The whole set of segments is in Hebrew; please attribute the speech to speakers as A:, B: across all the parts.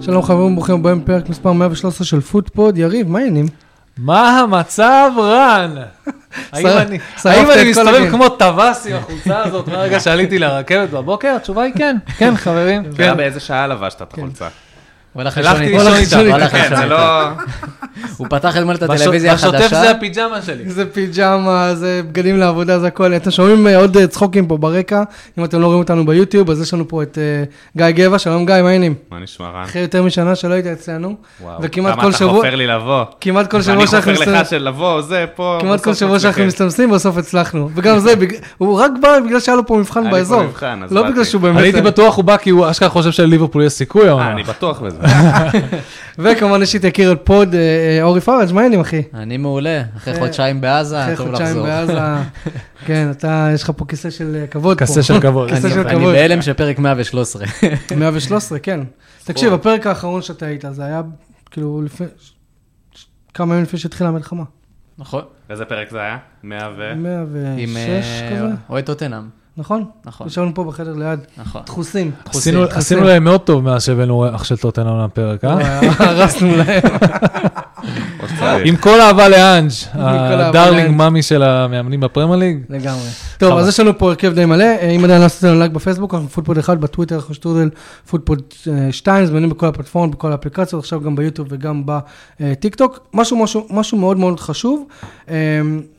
A: שלום חברים, ברוכים הבאים בפרק מספר 113 של פודפוד. יריב, מה העניינים?
B: מה המצב, רן? האם
A: שרפת
B: אני
A: את
B: האם
A: כל
B: אני מסתובב
A: המילים.
B: כמו טווס עם החולצה הזאת מהרגע שעליתי לרכבת בבוקר? התשובה היא כן, כן, חברים.
C: אתה יודע באיזה שעה לבשת
A: כן.
C: את החולצה.
D: הוא הלך
B: הלכתי
D: לישון איתה.
B: לישון
A: איתה,
D: הוא הלך
C: כן,
D: לישון
C: זה
D: איתה.
C: לא...
D: הוא פתח אתמול את
B: בש-
D: הטלוויזיה
B: בשוטף
D: החדשה.
B: זה הפיג'מה שלי.
A: זה פיג'מה, זה בגדים לעבודה, זה הכל. אתם שומעים אה, עוד אה, צחוקים פה ברקע. אם אתם לא רואים אותנו ביוטיוב, אז יש לנו פה את אה, גיא גבע. שלום גיא, מה העניינים?
C: מה נשמע רן?
A: אחרי יותר משנה שלא היית אצלנו.
C: וואו,
A: וכמעט כל
C: למה אתה
A: שבוע...
C: חופר לי לבוא?
A: כמעט כל שבוע
C: אני
A: שאנחנו...
C: חופר
A: מסתובב-
C: לך של לבוא, זה, פה...
A: כמעט כל
C: בסוף
A: שבוע שאנחנו
C: אצלכם.
A: מסתמסים, בסוף הצלחנו. וגם זה, בג- הוא רק בא בגלל שהיה לו פה מבחן
C: היה לי פה
A: באזור.
C: מבחן, אז
A: לא
C: באתי.
A: בגלל שהוא באמת...
B: אני הייתי בטוח הוא בא כי הוא אשכרה חושב שלליברפול יש סיכוי
C: אה,
B: העונה.
C: אני בטוח בזה.
A: וכמובן יש לי את יקיר עוד פוד, אה, אה, אורי פראג', מה העניינים אחי?
D: אני מעולה, אחרי
A: אה,
D: חודשיים בעזה,
A: אחרי
D: טוב
A: חודשיים
D: לחזור.
A: בעזה. כן, אתה, יש לך פה כיסא של אה, כבוד פה.
B: כסה של כבוד.
A: כיסא
D: אני-
A: של
D: אני
A: כבוד.
D: בהלם שפרק 113.
A: 113, כן. תקשיב, הפרק האחרון שאתה היית, זה היה כאילו לפני... כמה ימים לפני שהתחילה המלחמה.
D: נכון.
C: איזה פרק זה היה? 100 ו...
A: 106
D: עם אה,
A: כזה,
D: אוהד טוטנאם.
A: נכון?
D: נכון.
A: ישבנו פה בחדר ליד.
D: נכון.
A: דחוסים.
B: עשינו- עשינו להם מאוד טוב מאז שהבאנו אח של טוטנאם לפרק, אה?
A: הרסנו להם.
C: עוד
A: אה.
C: צריך.
B: עם כל אהבה לאנג',
A: האהבה
B: הדרלינג
A: לאנג'.
B: מאמי של המאמנים בפרמייר ליג.
A: לגמרי. טוב,
B: חבל.
A: אז יש לנו פה הרכב די מלא. אה, אם עדיין לא עשיתם לנו לייק בפייסבוק, אנחנו פודפוד 1, בטוויטר אנחנו שטרודל, פודפוד 2, זמינים בכל הפלטפורמות, בכל האפליקציות, עכשיו גם ביוטיוב וגם בטיק טוק. משהו, משהו, משהו מאוד מאוד חשוב. אה,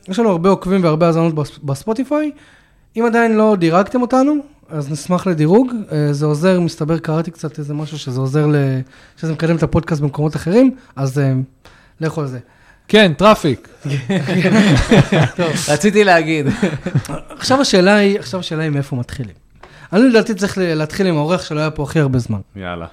A: יש לנו הרבה עוקבים והרבה האזנות בס- בספוטיפיי. אם עדיין לא דירגתם אותנו, אז נשמח לדירוג. אה, זה עוזר, מסתבר, קראתי קצת איזה משהו שזה עוזר, ל... שזה מקדם את הפודקאסט במקומות אחרים, אז אה, לכו על זה.
B: כן, טראפיק.
D: רציתי להגיד.
A: עכשיו השאלה היא, עכשיו השאלה היא מאיפה מתחילים. אני לדעתי צריך ל- להתחיל עם האורח שלא היה פה הכי הרבה זמן.
C: יאללה,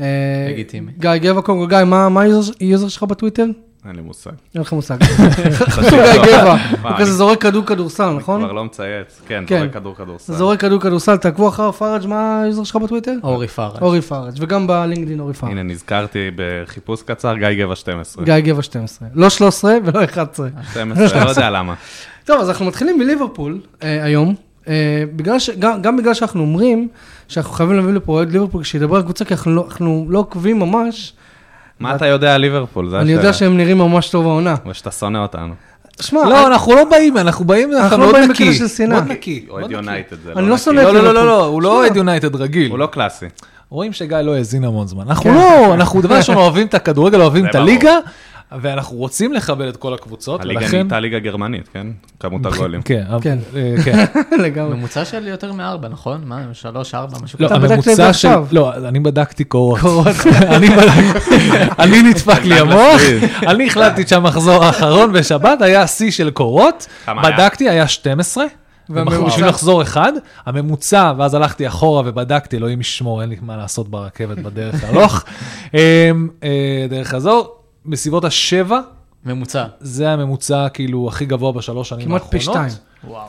A: אה,
D: לגיטימי.
A: גיא גבע, קודם כל, גיא, מה- מה היוזר שלך בטוויטר?
C: אין לי מושג.
A: אין לך מושג. חשוב גיא גבע, הוא כזה זורק כדור כדורסל, נכון?
C: כבר לא מצייץ. כן,
A: כן.
C: זורק כדור כדורסל.
A: זורק כדור כדורסל, תעקבו אחר פראג', מה היוזר שלך בטוויטר?
D: אורי פארד.
A: אורי פראג', וגם בלינקדאין אורי פראג'.
C: הנה, נזכרתי בחיפוש קצר, גיא גבע 12.
A: גיא גבע 12, לא 13 ולא 11.
C: 12, לא יודע למה.
A: טוב, אז אנחנו מתחילים מליברפול אה, היום, אה, בגלל ש, גם, גם בגלל שאנחנו אומרים שאנחנו חייבים להביא לפה אוהד ליברפול שידבר על קבוצה, כי אנחנו לא, אנחנו לא עוקבים ממש,
C: מה אתה יודע על ליברפול? זה
A: אני יודע
C: השאלה.
A: שהם נראים ממש טוב העונה.
C: או שאתה שונא אותנו.
A: שמע,
B: לא, אנחנו לא באים, אנחנו באים,
A: אנחנו
B: אנחנו
A: לא
B: מאוד
A: באים
B: נקי.
A: בקטע של שנאה.
B: מאוד נקי. מאוד
C: אוהד
B: נקי.
C: יונייטד זה לא
A: אני לא
C: נקי.
A: שונא את
B: לא, לא, לא,
A: ליברפול.
B: לא, לא, הוא לא אוהד יונייטד רגיל.
C: הוא לא קלאסי.
B: רואים שגיא לא האזין המון זמן. אנחנו
A: כן.
B: לא, אנחנו דבר ראשון אוהבים את הכדורגל, אוהבים
C: זה
B: את הליגה, ואנחנו רוצים לכבד את כל הקבוצות,
C: הליגה
B: ולכן...
C: נהייתה ליגה גרמנית, כן? כמות הגולים.
B: אוקיי, כן, אבל-
A: כן.
B: אה, כן.
A: לגמרי.
D: ממוצע של יותר מארבע, נכון? מה, שלוש, ארבע, משהו
B: לא,
D: כזה.
A: אתה בדקת את זה
B: הממוצע של...
A: עכשיו.
B: לא, אני בדקתי קורות. אני בדקתי, אני נדפק לי המוח, אני החלטתי שהמחזור האחרון בשבת היה שיא של קורות,
C: כמה היה?
B: בדקתי, היה 12.
A: והממוצע?
B: בשביל לחזור אחד, הממוצע, ואז הלכתי אחורה ובדקתי, אלוהים ישמור, אין לי מה לעשות ברכבת בדרך הלוך. אמ, אה, דרך חזור, בסביבות השבע,
D: ממוצע.
B: זה הממוצע כאילו הכי גבוה בשלוש שנים
A: כמעט
B: האחרונות.
A: פי שתיים.
D: וואו.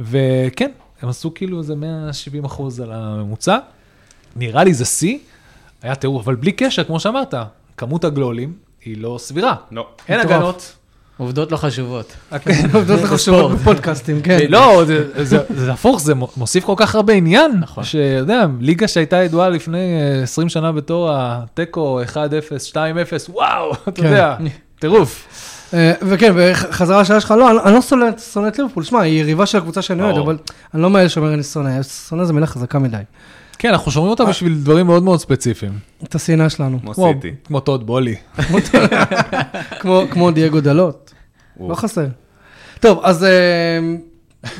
B: וכן, הם עשו כאילו איזה 170 אחוז על הממוצע. נראה לי זה שיא, היה טירוף, אבל בלי קשר, כמו שאמרת, כמות הגלולים היא לא סבירה.
C: לא.
B: אין
A: מטורף.
B: הגנות.
D: עובדות לא חשובות.
A: כן, עובדות לך חשובות בפודקאסטים, כן.
B: לא, כן. זה- זה זה הפוך, זה מוסיף כל כך הרבה עניין.
D: נכון.
B: שאתה יודע, ליגה שהייתה ידועה לפני אה, 20 שנה בתור התיקו 1-0, 2-0, וואו, אתה
A: כן.
B: יודע, טירוף.
A: אה, וכן, וחזרה לשאלה שלך, לא, אני- אני לא שונא את- שונא את ליברפול, שמע, היא יריבה של הקבוצה שאני אוהד,
C: ברור.
A: אבל אני לא מאלה שאומר אני שונא, שונא זו מילה חזקה מדי.
B: כן, אנחנו שומעים אותה בשביל דברים מאוד מאוד ספציפיים.
A: את השנאה שלנו,
C: כמו
B: כמו-
C: סיטי.
B: כמו טוד בולי.
A: כמו- כמו דייגו דלות.
C: הוא-
A: לא חסר. טוב, אז אה,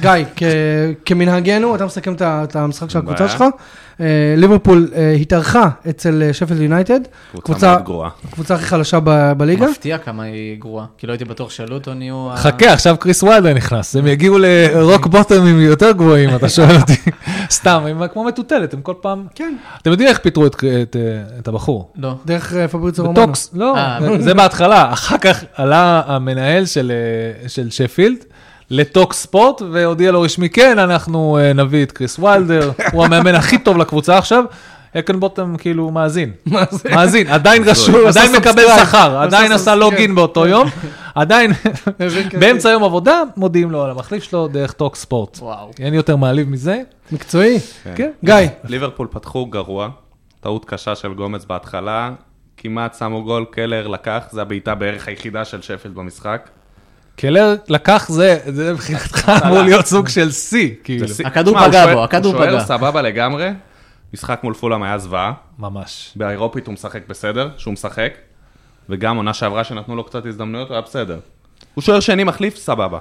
A: גיא, כ- כמנהגנו, אתה מסכם את ה- את המשחק של
C: אין
A: הקבוצה
C: בעיה.
A: שלך. אה, ליברפול אה, התארחה אצל אה, שפילד יונייטד, קבוצה-
C: קבוצה מאוד גרועה.
A: הקבוצה הכי חלשה ב- בליגה.
D: מפתיע כמה היא גרועה. כי לא הייתי בטוח שלוטון יהיו... ה-
B: חכה, עכשיו קריס ויילר נכנס, הם יגיעו לרוק בוטומים יותר גבוהים, אתה שואל אותי. סתם, הם כמו מטוטלת, הם כל פעם...
A: כן.
B: אתם יודעים איך פיטרו את- את אה, את הבחור?
D: לא.
A: דרך אה, פבריצו רומנו.
B: בטוקס, לא,
D: אה,
A: כן.
B: זה בהתחלה, אחר כך עלה המנהל של אה, של שפילד. לטוק ספורט, והודיע לו רשמי, כן, אנחנו אה, נביא את קריס ויילדר, הוא המאמן הכי טוב לקבוצה עכשיו. אקנבוטם כאילו מאזין,
A: מה זה?
B: מאזין, עדיין
C: הזוי.
B: רשום, עדיין
A: עשה
B: מקבל
A: subscribe.
B: שכר, עדיין עשה
A: subscribe. כן.
B: לוגין באותו יום, עדיין
A: מבין כזה.
B: באמצע יום עבודה, מודיעים לו על המחליף שלו דרך טוק ספורט.
D: וואו.
B: אין יותר מעליב מזה?
A: מקצועי.
C: כן.
B: כן.
A: גיא,
C: ליברפול פתחו גרוע, טעות קשה של גומץ בהתחלה, כמעט שמו גול, קלר לקח, זו הבעיטה בערך היחידה של שפילד במשחק.
B: קלר לקח זה, זה מבחינתך אמור להיות סוג של שיא, כאילו.
C: זה שיא.
D: הכדור
C: שמע, הוא
D: פגע
C: שוער-
D: בו, הכדור
C: הוא שוער
D: פגע.
C: סבבה לגמרי, משחק מול פולאם היה זוועה,
B: ממש.
C: באירופית הוא משחק בסדר, שהוא משחק, וגם עונה שעברה שנתנו לו קצת הזדמנויות, הוא היה בסדר. הוא שוער שני מחליף, סבבה.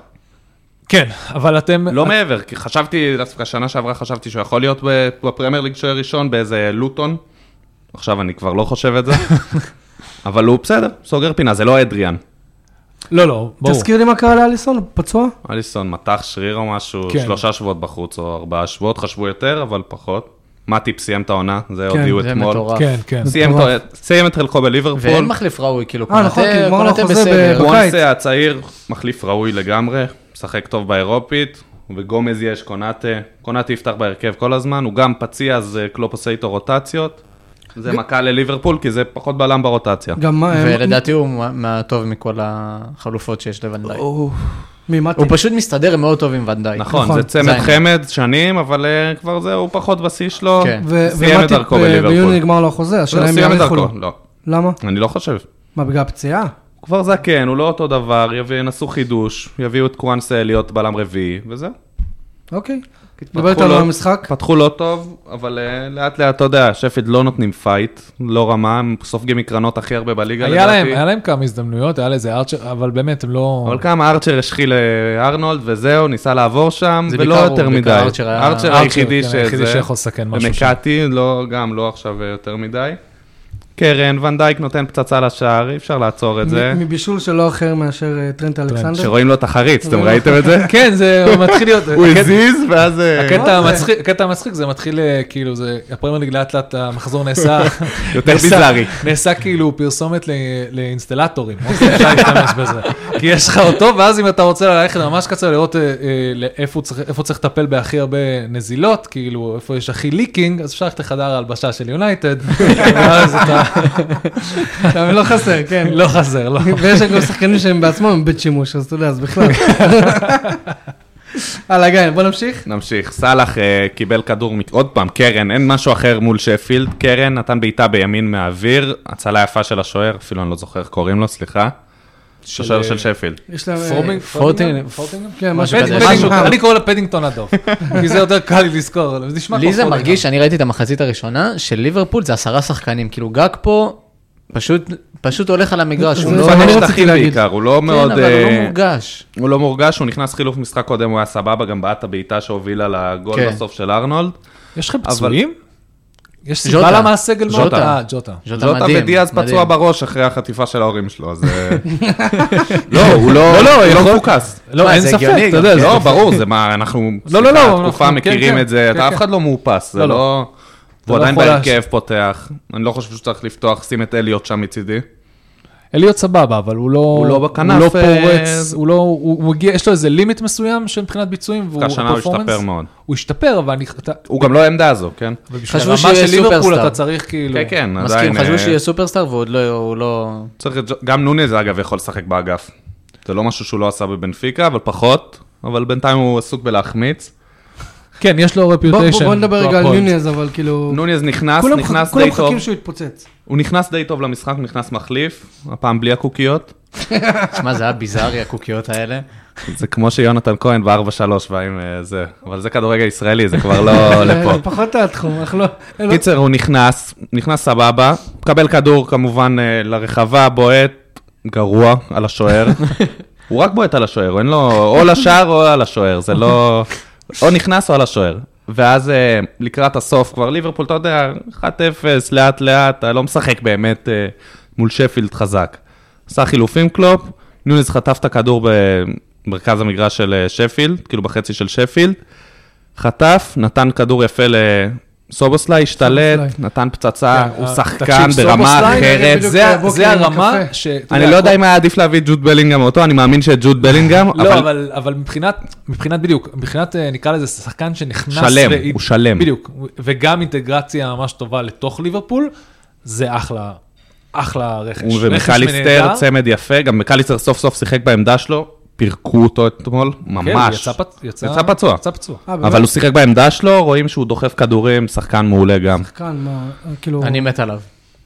B: כן, אבל אתם...
C: לא מעבר, כי חשבתי, דווקא שנה שעברה חשבתי שהוא יכול להיות ב- בפרמייר ליג שוער ראשון באיזה לוטון. עכשיו אני כבר לא חושב את זה. אבל הוא בסדר, סוגר פינה, זה לא אדריאן.
B: לא, לא, ברור.
A: תזכיר לי מה קרה לאליסון, הוא פצוע?
C: אליסון מתח שריר או משהו,
B: כן.
C: שלושה שבועות בחוץ או ארבעה שבועות, חשבו יותר, אבל פחות. מטיפ סיים את העונה, זה
A: כן,
C: הודיעו
D: זה
C: אתמול.
D: מטורף.
B: כן, כן.
C: סיים את ה- סיים את חלקו
D: ואין
C: בליברפול.
D: מחליף ראוי, כאילו,
A: אה, נכון, כי גמר לו
D: קונאטה
A: חוזה
D: בסדר.
A: ב- בקיץ.
C: וואנסה הצעיר, מחליף ראוי לגמרי, משחק טוב באירופית, וגומז יש, קונאטה. קונאטה יפתח בהרכב כל הזמן, הוא גם פציע, אז אה, קלופ עושה איתו רוטציות. זה מכה לליברפול, כי זה פחות בלם ברוטציה.
A: גם מה... אה,
C: אה,
D: ולדעתי הוא מה- מהטוב מכל החלופות שיש לוונדייק.
A: הוא- ממתי?
D: הוא פשוט מסתדר מאוד טוב עם ונדייק.
C: נכון,
A: נכון.
C: זה צמד
D: זין.
C: חמד שנים, אבל אה, כבר זה, הוא פחות בשיא שלו. לא
D: כן.
A: ו-
C: סיים את
A: ומטיפ,
C: דרכו
A: אה,
C: בליברפול.
A: ביוני נגמר לו החוזה,
C: לא,
A: השאלה אם
C: סיים את
A: יאריכו לו.
C: דרכו, לא.
A: למה?
C: אני לא חושב.
A: מה, בגלל הפציעה?
C: הוא כבר זקן, הוא לא אותו דבר, יביא- ינסו חידוש, יביאו את קוואנסה להיות בלם רביעי, וזהו.
A: אוקיי.
C: התפתחו
A: דבר איתנו
C: לא-
A: על המשחק.
C: פתחו לא טוב, אבל אה, לאט לאט, אתה יודע, שפילד לא נותנים פייט, לא רמה, הם סופגים מקרנות הכי הרבה בליגה
B: היה להם,
C: לדעתי.
B: היה להם כמה הזדמנויות, היה לזה ארצ'ר, אבל באמת הם לא...
C: אבל כמה ארצ'ר השחיל לארנולד וזהו, ניסה לעבור שם,
D: זה
C: ולא
D: בעיקר הוא,
C: יותר
D: בעיקר
C: מדי.
D: ארצ'ר היה-
C: ארצ'ר
B: ארצ'ר,
C: היחידי
B: כן,
C: שזה,
B: היחידי שיכול לסכן משהו שם.
C: ומקאטי, לא, גם לא עכשיו אה, יותר מדי. קרן, ונדייק נותן פצצה לשער, אי אפשר לעצור את זה.
A: מ- מבישול שלא אחר מאשר אה, טרנט אלכסנדר.
C: שרואים לו את החריץ, אתם ראיתם את זה?
B: כן, זה מתחיל להיות...
C: הוא
B: הקטע-
C: הזיז, ואז... אה,
B: הקטע
A: מה זה?
B: המצחיק, הקטע המצחיק זה מתחיל אה, כאילו זה, הפרמייר ליג לאט לאט המחזור נעשה,
C: יותר
B: נעשה-
C: ביזארי.
B: נעשה כאילו פרסומת ל- לאינסטלטורים, אוקיי, אפשר להשתמש בזה, כי יש לך אותו, ואז אם אתה רוצה ללכת ממש קצר לראות אה, אה, לא- איפה הוא צריך- איפה צריך לטפל בהכי הרבה נזילות, כאילו איפה יש הכי ליקינג, אז אפשר ללכת לחדר ההלבשה של יונייטד, ואז אתה,
A: אבל לא חסר, כן.
B: לא חזר, לא.
A: ויש גם שחקנים שהם בעצמם הם בית שימוש, אז אתה יודע, אז בכלל. הלאה, גיא, בוא נמשיך.
C: נמשיך. סאלח אה, קיבל כדור, מק- עוד פעם, קרן, אין משהו אחר מול שפילד. קרן נתן בעיטה בימין מהאוויר, הצלה יפה של השוער, אפילו אני לא זוכר איך קוראים לו, סליחה. השוער של שפילד.
A: יש להם... אה,
B: פרובינג-
D: פורטינג-
B: פורטינגהם?
A: כן, משהו כזה.
D: משהו כזה.
A: משהו-
B: פדינגטון, אני קורא לה פדינגטון הדוב, כי זה יותר קל לי לזכור, אבל זה נשמע כמו
D: לי זה
B: פרודינגטון.
D: מרגיש, אני ראיתי את המחצית הראשונה, של ליברפול זה עשרה שחקנים, כאילו גג פה פשוט- פשוט הולך על המגרש, הוא
A: זה-
D: לא...
A: זה-
C: מפנה
A: רציתי
C: שטחים
A: להגיד.
C: בעיקר, הוא לא
D: כן,
C: מאוד...
D: אבל הוא
C: אה,
D: לא מורגש.
C: הוא לא מורגש, הוא נכנס חילוף משחק קודם, הוא היה סבבה, גם בעט הבעיטה שהובילה לגול
D: כן.
C: בסוף של ארנולד.
B: יש לכם
C: אבל-
B: פצועים? יש סיבה
D: ז'וטה.
B: למה הסגל...
D: ז'וטה.
B: מאוד- אה, ג'וטה.
C: ז'וטה
D: מדהים,
C: ודיאז
D: מדהים.
C: פצוע בראש אחרי החטיפה של ההורים שלו, אז... אה, לא, הוא לא
B: לא, לא,
C: הוא
B: יכול-
C: לא מפוקס.
B: לא,
D: מה,
B: אין
D: זה
B: ספק,
D: הגיוני
B: אתה
D: גם,
B: יודע,
D: כן.
B: זה-
C: לא, ברור, זה מה, אנחנו...
B: לא, לא,
C: סליחה,
B: אנחנו-
C: תקופה
B: כן,
C: מכירים
B: כן,
C: את זה,
B: כן,
C: אתה-
B: כן.
C: אף אחד לא מאופס, זה
B: לא,
C: לא...
B: אתה
C: הוא
B: לא
C: עדיין
B: יכול
C: בהרכב פותח, אני לא חושב שצריך לפתוח, שים את אליוט שם מצידי.
B: אליוט סבבה, אבל הוא לא... הוא
C: לא בכנף,
B: הוא לא
C: אה,
B: פורץ, הוא לא... הוא הוא מגיע, יש לו איזה לימיט מסוים שמבחינת ביצועים, והוא...
C: השנה הוא
B: הפרפורמנס-
C: השתפר מאוד.
B: הוא השתפר, אבל אני... אתה-
C: הוא גם לא העמדה הזו, כן?
B: אבל בשביל
D: חשבו
B: הרמה
D: שיהיה
B: של ליברפול
D: סופרסטאר.
B: אתה צריך כאילו...
C: כן, כן,
D: מסכים,
C: עדיין...
D: חשבו
C: אה,
D: שיהיה סופרסטאר והוא עוד לא- הוא לא...
C: צריך את ג'- גם נונז, אגב, יכול לשחק באגף. זה לא משהו שהוא לא עשה בבנפיקה, אבל פחות, אבל בינתיים הוא עסוק בלהחמיץ.
B: כן, יש לו
A: בוא-
B: רפיוטיישן.
A: בוא- בוא נדבר רגע על
C: נכון.
A: יוניאז, אבל כאילו...
C: נוניז נכנס,
A: כולם
C: נכנס
A: מחכים- כולם
C: די טוב.
A: מחכים שהוא יתפוצץ. אה,
C: הוא נכנס די טוב למשחק, הוא נכנס מחליף, הפעם בלי הקוקיות.
D: שמע, זה היה ביזארי, הקוקיות האלה.
C: זה כמו שיונתן כהן ב-4-3 ועם אה, זה, אבל זה כדורגל ישראלי, זה כבר לא לפה.
A: זה פחות התחום, אנחנו לא...
C: אה,
A: לא-
C: קיצר, הוא נכנס, נכנס סבבה, מקבל כדור כמובן אה, לרחבה, בועט, גרוע, על השוער. הוא רק בועט על השוער, אין לו או לשער או על השוער, זה לא... או נכנס או על השוער. ואז אה, לקראת הסוף כבר ליברפול, אתה יודע, 1-0, לאט לאט, אתה לא משחק באמת אה, מול שפילד חזק. עשה חילופים קלופ, נונז חטף את הכדור במרכז המגרש של אה, שפילד, כאילו בחצי של שפילד. חטף, נתן כדור יפה לסובוסליי, השתלט,
A: סובוסליי.
C: נתן פצצה,
B: כן,
C: הוא
B: אה,
C: שחקן
B: תקשיב,
C: ברמה
B: סובוסליי,
C: אחרת.
A: בדיוק
B: זה-
A: בבוקר
B: זה
A: עם
B: הרמה
A: קפה.
B: ש...
C: אני לא יודע אם היה עדיף להביא את ג'וד בלינגהם אותו, אני מאמין שאת ג'וד בלינגהם,
B: לא,
C: אבל
B: אבל, אבל מבחינת, מבחינת בדיוק, מבחינת אה, נקרא לזה שחקן שנכנס...
C: שלם, הוא שלם.
B: בדיוק, וגם אינטגרציה ממש טובה לתוך ליברפול, זה אחלה, אחלה רכש.
C: הוא
B: רכש
C: ומקליסטר,
B: מנהדר.
C: צמד יפה, גם מקליסטר סוף סוף שיחק בעמדה שלו, פירקו אותו אתמול,
B: כן, הוא
C: ממש.
B: יצא, פצ... יצא,
C: יצא פצוע.
B: יצא פצוע.
A: אה, באמת?
C: אבל הוא שיחק בעמדה שלו, רואים שהוא דוחף כדורים, שחקן מעולה גם.
A: כאן, מה, כאילו...
D: אני מת עליו.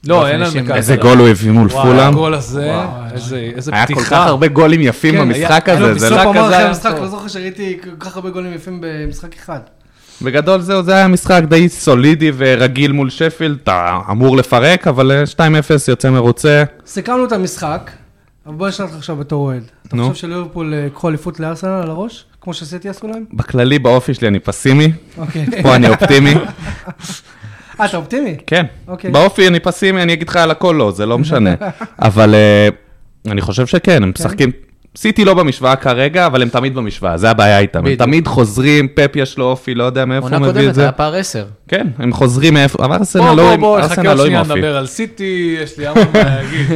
B: לא, אין על
D: בחמישים.
B: מקרקע.
C: איזה גול הוא הביא מול
B: וואו,
C: פולאם.
B: הגול הזה, איזה איזה
C: היה כל כך
B: פתיחה.
C: הרבה גולים יפים
B: כן,
C: במשחק
B: היה- היה לו
C: הזה. זה
B: בסוף
C: לא-
A: בסוף אמר
B: כזה
A: אחרי
B: היה
A: המשחק,
B: טוב.
A: לא זוכר שראיתי כל כך הרבה גולים יפים במשחק אחד.
C: בגדול זהו, זה היה משחק די סולידי ורגיל מול שפילד, אתה אמור לפרק, אבל אה, 2-0 יוצא מרוצה.
A: סיכמנו את המשחק, אבל בוא נשאל אותך עכשיו בתור אוהד. אתה
C: נו.
A: חושב שליברפול אה, ייקחו אליפות לארסנל על הראש? כמו שסיטי עשו להם?
C: בכללי, באופי שלי אני פסימי,
A: אוקיי.
C: פה אני אופטימי.
A: אה, אתה אופטימי?
C: כן.
A: אוקיי.
C: באופי אני פסימי, אני אגיד לך על הכל לא, זה לא משנה. אבל אה, אני חושב שכן, הם
B: כן.
C: משחקים... סיטי לא במשוואה כרגע, אבל הם תמיד במשוואה, זה הבעיה איתם. הם
D: בדיוק.
C: תמיד חוזרים, פפ יש לו אופי, לא יודע מאיפה
D: עונה
C: הוא מביא את
D: קודמת
C: זה.
D: היה פער 10.
C: כן, הם חוזרים מאיפה, אבל ארסנל
B: אה, בוא,
C: לא
B: בוא,
C: עם-
B: בוא, חכה
C: ארסנל
B: עוד
C: לא עם
B: שנייה
C: אופי.
B: נדבר על סיטי, יש לי המון מה להגיד.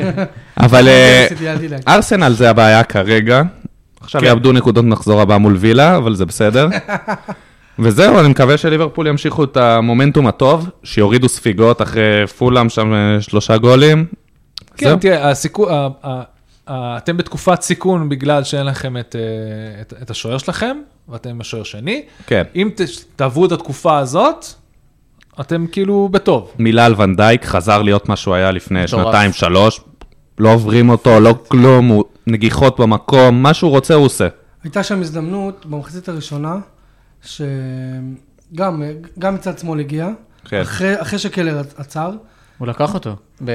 C: אבל
B: אוקיי,
C: אה,
A: סיטי, אל תדאג.
C: ארסנל זה הבעיה כרגע. עכשיו
B: כן.
C: יאבדו נקודות מחזור הבא מול וילה, אבל זה בסדר. וזהו, אני מקווה שליברפול ימשיכו את המומנטום הטוב, שיורידו ספיגות אחרי פולאם שם אה, שלושה גולים.
B: כן,
C: זהו.
B: תראה, הסיכו- ה- ה- ה- אתם בתקופת סיכון בגלל שאין לכם את, אה, את- את השוער שלכם, ואתם השוער שני.
C: כן.
B: אם ת- תעברו את התקופה הזאת, אתם כאילו בטוב.
C: מילה על ונדייק, חזר להיות מה שהוא היה לפני
D: מטורף.
C: שנתיים, שלוש. לא עוברים אותו, לא כלום, הוא נגיחות במקום, מה שהוא רוצה הוא עושה.
A: הייתה שם הזדמנות במחצית הראשונה, שגם גם מצד שמאל הגיע,
C: כן.
A: אחרי, אחרי שקלר עצר,
D: הוא לקח אותו. ב-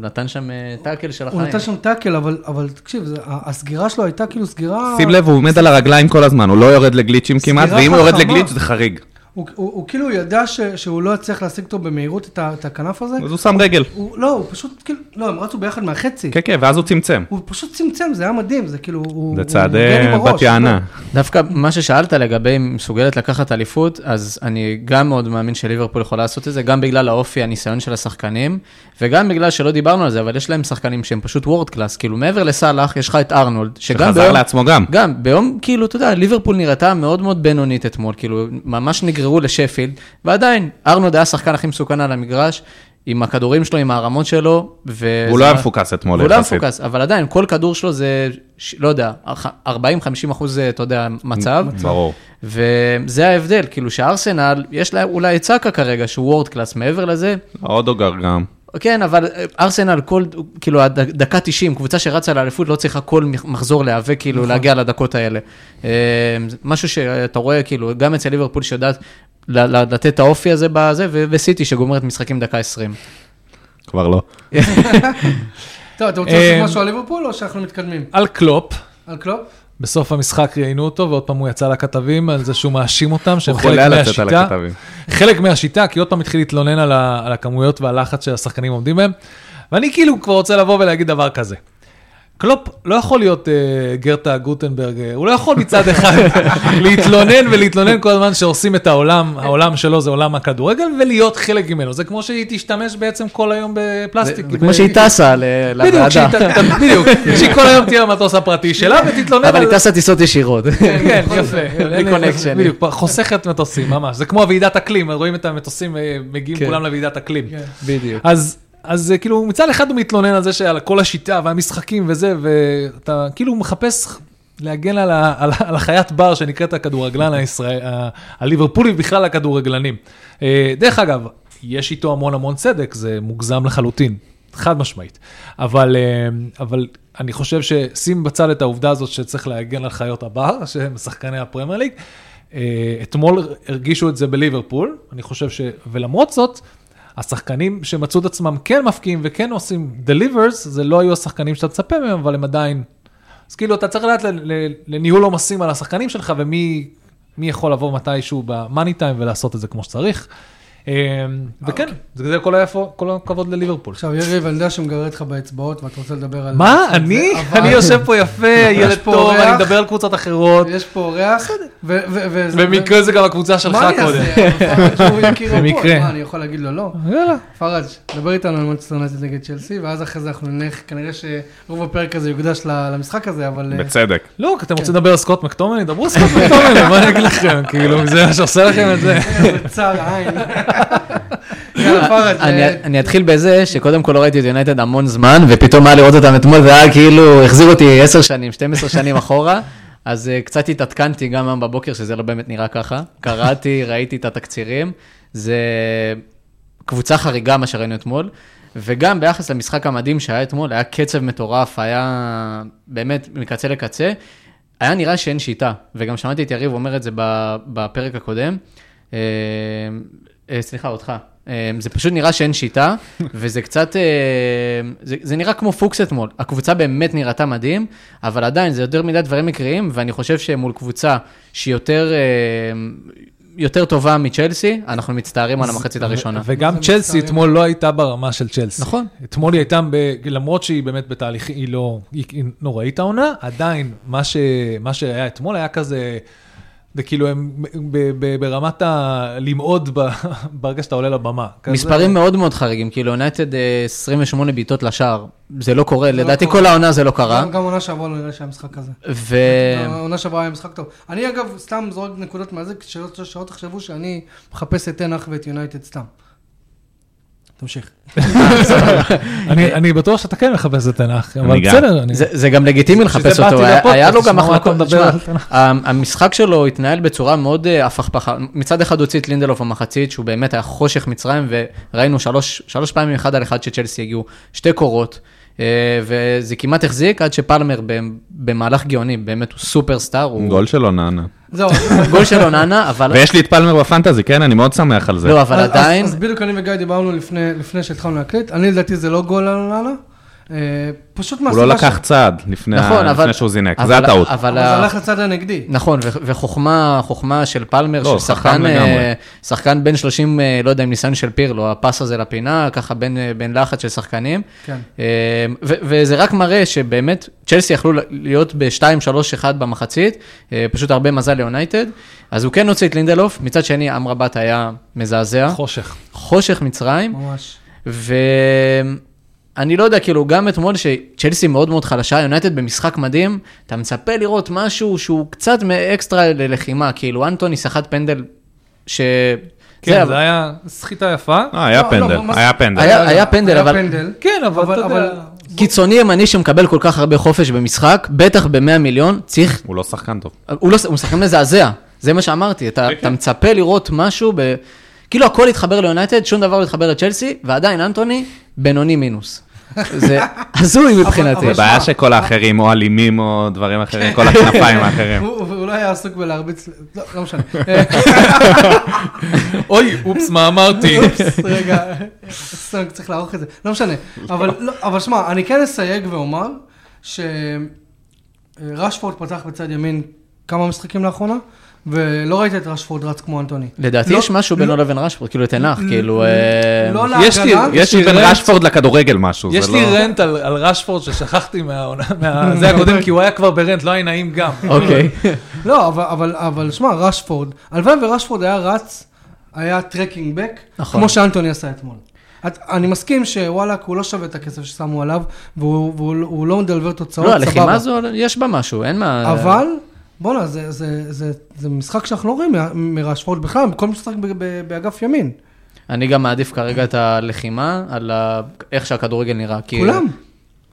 D: נתן שם אה, טאקל של
A: הוא
D: החיים.
A: נתן שם טאקל, אבל, אבל תקשיב, זה, ה- הסגירה שלו הייתה כאילו סגירה...
C: שים לב, הוא עומד על הרגליים כל הזמן, הוא לא יורד לגליצ'ים
A: סגירה
C: כמעט, ואם הוא יורד
A: חכמה.
C: לגליץ' זה חריג.
A: הוא, הוא, הוא כאילו ידע ש, שהוא לא יצליח להשיג אותו במהירות את, ה, את הכנף הזה.
C: אז הוא שם רגל.
A: הוא, לא, הוא פשוט כאילו, לא, הם רצו ביחד מהחצי.
C: כן, כן, ואז הוא צמצם.
A: הוא פשוט צמצם, זה היה מדהים, זה כאילו, הוא...
C: זה
A: הוא
C: צעד
A: נוגן עם
C: אה,
A: הראש,
C: בת יענה.
D: דווקא מה ששאלת לגבי אם מסוגלת לקחת אליפות, אז אני גם מאוד מאמין שליברפול יכולה לעשות את זה, גם בגלל האופי, הניסיון של השחקנים, וגם בגלל שלא דיברנו על זה, אבל יש להם שחקנים שהם פשוט וורד קלאס, כאילו מעבר לסאלח, יש לך את ארנולד, שגם
C: שחזר
D: ביום,
C: לעצמו גם.
D: גם ביום, כאילו, אתה יודע, ליברפול נראתה מאוד מאוד בינונית אתמול, כאילו, ממש נגררו לשפילד, ועדיין, ארנולד היה השחקן הכי מסוכן על המגרש, עם הכדורים שלו, עם הערמות שלו, ו...
C: הוא לא היה מפוקס אתמול.
D: הוא לא היה
C: יחסית.
D: מפוקס, אבל עדיין, כל כדור שלו זה, ש- לא יודע, 40-50 אחוז, אה, אתה יודע, מצב.
C: ברור.
D: וזה ההבדל, כאילו שארסנל, יש לה אולי את סאקה כרגע, שהוא וורד קלאס, מעבר לזה,
C: אודוגר גם.
D: כן, אבל אה, ארסנל כל, כאילו, עד דקה 90, קבוצה שרצה לאליפות, לא צריכה כל מח- מחזור להיאבק, כאילו,
C: נכון.
D: להגיע לדקות האלה. אה, זה משהו שאתה רואה, כאילו, גם אצל ליברפול שיודעת ל- ל- לתת את האופי הזה בזה, ו- וסיטי שגומרת משחקים דקה 20.
C: כבר לא.
A: טוב, אתם רוצים לעשות
B: אה,
A: משהו על ליברפול או שאנחנו מתקדמים?
B: על קלופ,
A: על קלופ?
B: בסוף המשחק ראיינו אותו, ועוד פעם הוא יצא לכתבים על זה שהוא מאשים אותם, שהם
C: הוא
B: חלק
C: חולה על לצאת על
B: מהשיטה.
C: הכתבים.
B: חלק מהשיטה, כי עוד פעם התחיל להתלונן על, ה, על הכמויות והלחץ שהשחקנים עומדים בהם. ואני כאילו כבר רוצה לבוא ולהגיד דבר כזה. קלופ לא יכול להיות uh, גרטה גוטנברג, uh, הוא לא יכול מצד אחד להתלונן ולהתלונן כל הזמן שהורסים את העולם, העולם שלו זה עולם הכדורגל, ולהיות חלק ממנו. זה כמו שהיא תשתמש בעצם כל היום בפלסטיק.
D: זה כמו שהיא טסה ל-
B: בדיוק, שהיא
D: לוועדה,
B: ת- ת- בדיוק, שהיא כל היום תהיה במטוס הפרטי שלה ותתלונן
D: אבל
B: על...
D: היא טסה טיסות ישירות.
B: כן, כן, יפה.
D: בלי קונקשן.
B: בדיוק, חוסכת מטוסים, ממש. זה כמו הוועידת אקלים, רואים את המטוסים אה, מגיעים
D: כן.
B: כולם לוועידת אקלים.
A: כן.
D: בדיוק.
B: אז... אז אה, כאילו מצד אחד הוא מתלונן על זה שעל כל השיטה והמשחקים וזה, ואתה כאילו מחפש להגן על, ה, על, ה- על החיית בר שנקראת הכדורגלן הישראל, ה- הליברפולי בכלל הכדורגלנים. אה, דרך אגב, יש איתו המון המון צדק, זה מוגזם לחלוטין, חד משמעית. אבל, אה, אבל אני חושב ששים בצד את העובדה הזאת שצריך להגן על חיות הבר, שהם שחקני הפרמייר ליג. אה, אתמול הרגישו את זה בליברפול, אני חושב ש... ולמרות זאת, השחקנים שמצאו את עצמם כן מפקיעים וכן עושים delivers, זה לא היו השחקנים שאתה תצפה מהם, אבל הם עדיין... אז כאילו, אתה צריך לדעת ל- ל- לניהול עומסים על השחקנים שלך, ומי מי יכול לבוא מתישהו במאני טיים ולעשות את זה כמו שצריך. אה, וכן,
A: אוקיי.
B: זה זה כל היפו, כל הכבוד לליברפול.
A: עכשיו, יריב, אני יודע שהוא מגרד לך באצבעות ואתה רוצה לדבר על...
B: מה,
A: זה,
B: אני?
A: אבל-
B: אני יושב פה יפה, ילד
A: פה
B: טוב, אני
A: אורח.
B: מדבר על קבוצות אחרות,
A: יש פה אורח, ו- ו- ו-
B: במקרה זה גם הקבוצה
A: ו-
B: שלך
A: מה אני
B: קודם.
A: אעשה? אבל פרץ, הוא יכיר הפועל.
B: במקרה.
A: מה, אני יכול להגיד לו לא?
B: יאללה.
A: פראג', דבר איתנו על מונצ'סטר יונייטד נגד צ'לסי, ואז אחרי זה אנחנו נלך, כנראה שרוב הפרק הזה יוקדש ל- למשחק הזה, אבל... אה,
C: בצדק.
B: לא, כי אתם רוצים לדבר על סקוט מקטומני? דברו על סקוט מקטומני, מה אני אגיד לכם? כאילו, זה מה שעושה לכם את זה.
A: אה, בצער עין. יאללה, פראג'.
D: אני-
A: אה,
D: אני אתחיל בזה שקודם כל לא ראיתי את יונייטד המון זמן, ופתאום היה לראות אותם אתמול, זה היה כאילו, החזיר אותי 10 שנים, 12 שנים אחורה, אז אה, קצת התעדכנתי גם היום בבוקר, שזה לא באמת נראה ככה. קראתי, ראיתי את התקצירים, זה... קבוצה חריגה, מה שראינו אתמול. וגם ביחס למשחק המדהים שהיה אתמול, היה קצב מטורף, היה באמת מקצה לקצה. היה נראה שאין שיטה, וגם שמעתי את יריב אומר את זה ב- בפרק הקודם. אה, אה, סליחה, אותך. אה, זה פשוט נראה שאין שיטה, וזה קצת, אה, זה, זה נראה כמו פוקס אתמול. הקבוצה באמת נראתה מדהים, אבל עדיין זה יותר מדי דברים מקריים, ואני חושב שמול קבוצה שהיא יותר, אה, יותר טובה מצ'לסי, אנחנו מצטערים על המחצית הראשונה.
B: וגם
A: זה
B: צ'לסי
A: מצטער.
B: אתמול לא הייתה ברמה של צ'לסי.
D: נכון.
B: אתמול היא הייתה, ב- למרות שהיא באמת בתהליך, היא לא, היא היא נוראית העונה, עדיין מה, ש, מה שהיה אתמול היה כזה, זה כאילו הם ב, ב, ברמת הלמעוד ב- ברגע שאתה עולה לבמה. כזה.
D: מספרים מאוד מאוד חריגים, כאילו יונייטד אה, 28 בעיטות לשער, זה לא קורה,
A: לא
D: לדעתי
A: קורה.
D: כל העונה זה לא קרה.
A: גם גם עונה שעברה לא נראה שהיה משחק כזה.
D: ו...
B: אה.
A: העונה שעברה היה משחק טוב. אני אגב, סתם זורק נקודות מהזה, שלא שלא תחשבו שאני מחפש את תנח ואת יונייטד סתם. תמשיך.
B: אני, אני בטוח שאתה כן מחפש את תנח, אבל
C: אני גם.
B: בסדר. אני...
D: זה, זה גם לגיטימי
B: בשביל
D: לחפש
B: זה באתי
D: אותו, היה,
B: לפודקאסט,
D: היה לו גם
B: לשמוע
D: אחלה...
B: אותו מדבר
D: תשמע,
B: על תנ"ך.
D: ה- המשחק שלו התנהל בצורה מאוד אה, הפכפכה. מצד אחד הוציא את לינדלוף במחצית, שהוא באמת היה חושך מצרים, וראינו שלוש, שלוש פעמים אחד על אחד שצ'לסי הגיעו, שתי קורות, אה, וזה כמעט החזיק עד שפלמר ב- במהלך גאוני, באמת הוא סופרסטאר, הוא
C: גול שלו נענה.
A: זהו.
D: גול של אוננה, אבל...
C: ויש לי את פלמר בפנטזי, כן? אני מאוד שמח על זה.
D: לא, אבל
A: אז-
D: עדיין...
A: אז, אז בדיוק אני וגיא דיברנו לפני, לפני שהתחלנו להקליט, אני לדעתי זה לא גול על אוננה, אה, פשוט
C: הוא
A: מהסיבה
C: לא לקח צעד לפני
D: נכון,
C: ה-
D: אבל...
C: לפני שהוא זינק,
D: אבל-
C: זה הטעות.
A: אבל
D: אבל...
A: זה
D: ה-
A: הלך לצד הנגדי.
D: נכון, ו- וחוכמה, חוכמה של פלמר,
C: לא,
D: של
C: חכם
D: שחקן,
C: לגמרי.
D: אה, שחקן בן 30, אה, לא יודע, עם ניסיון של פירלו, הפס הזה לפינה, ככה בין, אה, בין לחץ של שחקנים.
A: כן.
D: אה, ו- וזה רק מראה שבאמת, צ'לסי יכלו להיות ב-2-3-1 במחצית, אה, פשוט הרבה מזל ליונייטד. אז הוא כן הוציא את לינדלוף, מצד שני, אמרבת היה מזעזע,
B: חושך.
D: חושך מצרים.
A: ממש.
D: ואני לא יודע, כאילו, גם אתמול שצ'לסי מאוד מאוד חלשה, יונייטד במשחק מדהים, אתה מצפה לראות משהו שהוא קצת מאקסטרה ללחימה, כאילו, אנטוני סחט פנדל ש...
B: כן, זה היה סחיטה יפה.
C: אה,
A: לא,
C: היה
A: לא,
C: פנדל,
A: מה זה-
C: היה פנדל.
D: היה- פנדל,
A: היה
D: אבל-
A: פנדל.
B: כן, אבל אתה
A: אבל-
B: יודע,
A: אבל-
D: קיצוני ימני שמקבל כל כך הרבה חופש במשחק, בטח ב-100 מיליון, צריך...
C: הוא לא שחקן טוב.
D: הוא לא... הוא משחק מזעזע, זה מה שאמרתי, אתה,
B: אוקיי.
D: אתה מצפה לראות משהו ב... כאילו הכל התחבר ליונייטד, שום דבר לא התחבר לצ'לסי, ועדיין אנטוני בינוני מינוס. זה הזוי מבחינתי.
A: אבל-
C: הבעיה שכל האחרים או אלימים או דברים אחרים, כל הכנפיים האחרים.
A: הוא הוא לא היה עסוק בלהרביץ, לא, לא משנה.
B: אוי, אופס, מה אמרתי?
A: אופס, רגע, סתם, צריך לערוך את זה, לא משנה. אבל לא, אבל שמע, אני כן אסייג ואומר שרשפורד פתח בצד ימין כמה משחקים לאחרונה, ולא ראית את רשפורד רץ כמו אנטוני.
D: לדעתי
A: לא-
D: יש משהו בינו לבין רשפורד, כאילו תנח, כאילו... אה,
A: לא
B: יש לי-
A: להגנה.
C: יש לי בין
B: רנט.
C: רשפורד לכדורגל משהו,
B: יש
C: זה לא...
B: לי רנט על, על רשפורד ששכחתי מהעונה, מה- זה הקודם, כי הוא היה כבר ברנט, לא היה נעים גם.
D: אוקיי.
A: לא, אבל, אבל, אבל שמע, רשפורד, הלוואי ורשפורד היה רץ, היה טרקינג בק,
D: נכון.
A: נכון. כמו שאנטוני עשה אתמול. את, אני מסכים שוואלאק, הוא לא שווה את הכסף ששמו עליו, והוא, והוא, והוא לא מדלבר תוצאות,
D: לא, הלחימה הזו, יש בה משהו, אין מה...
A: אבל, בואנה, זה, זה, זה, זה משחק שאנחנו לא רואים מ- מרשפורד בכלל, בכל משחק ב, ב, באגף ימין.
D: אני גם מעדיף כרגע את הלחימה על ה- איך שהכדורגל נראה.
B: כן.
D: כי
A: כולם,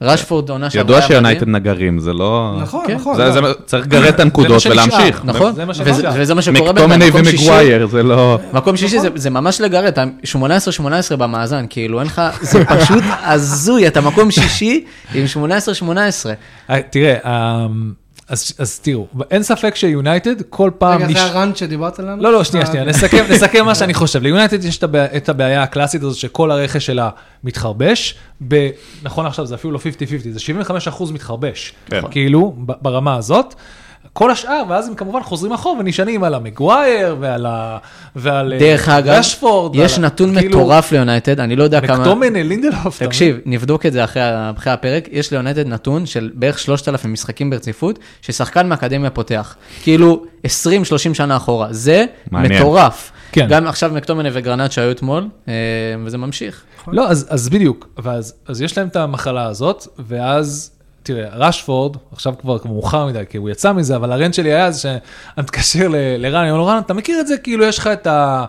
D: רשפורד עונה שעברה...
C: ידוע
D: היה מדהים.
C: שיונייטד נגרים, זה לא...
A: נכון,
D: כן.
A: נכון.
C: זה-
A: לא.
C: זה- צריך לגרד את הנקודות
B: זה מה שנשאר,
C: ולהמשיך.
D: נכון,
B: זה מה
D: וזה-
B: שנשאר.
D: וזה מה שקורה
C: מקטומני
D: מקום שישי.
C: ומגווייר, זה לא...
D: מקום שישי זה- זה ממש לגרד, אתה 18-18 במאזן, כאילו אין לך, זה פשוט הזוי, אתה מקום שישי עם 18-18.
B: אה, תראה, אמ, אז אז תראו, אין ספק שיונייטד כל פעם...
A: רגע, זה
B: נש-
A: הראנט שדיברת עליו?
B: לא, לא, שנייה,
A: אה,
B: שנייה,
A: אוקיי.
B: נסכם, נסכם מה שאני חושב. ליונייטד יש את הבע- את הבעיה הקלאסית הזאת שכל הרכש שלה מתחרבש, ב- נכון עכשיו זה אפילו לא 50-50, זה 75% מתחרבש,
C: כן.
B: כאילו, ב- ברמה הזאת. כל השאר, ואז הם כמובן חוזרים אחורה ונשענים על המגווייר ועל ה... ועל אה,
D: דרך אגב,
B: רשפורד.
D: יש
B: ועל ה-
D: נתון
B: כאילו,
D: מטורף ליונייטד, אני לא יודע כמה...
B: מקטומני, לינדלוף. אתה
D: תקשיב, נבדוק את זה אחרי, ה- אחרי הפרק, יש ליונטד נתון של בערך 3,000 משחקים ברציפות, ששחקן מהאקדמיה פותח. כאילו, 20-30 שנה אחורה. זה
C: מעניין.
D: מטורף.
B: כן.
D: גם עכשיו מקטומני וגרנט שהיו אתמול, אה, וזה ממשיך.
B: לא, אז, אז בדיוק, ואז, אז יש להם את המחלה הזאת, ואז, תראה, רשפורד, עכשיו כבר מאוחר מדי, כי הוא יצא מזה, אבל הרנט שלי היה זה שאני מתקשר ל- לרן, אני אומר לו, רן, אתה מכיר את זה? כאילו, יש לך את ה...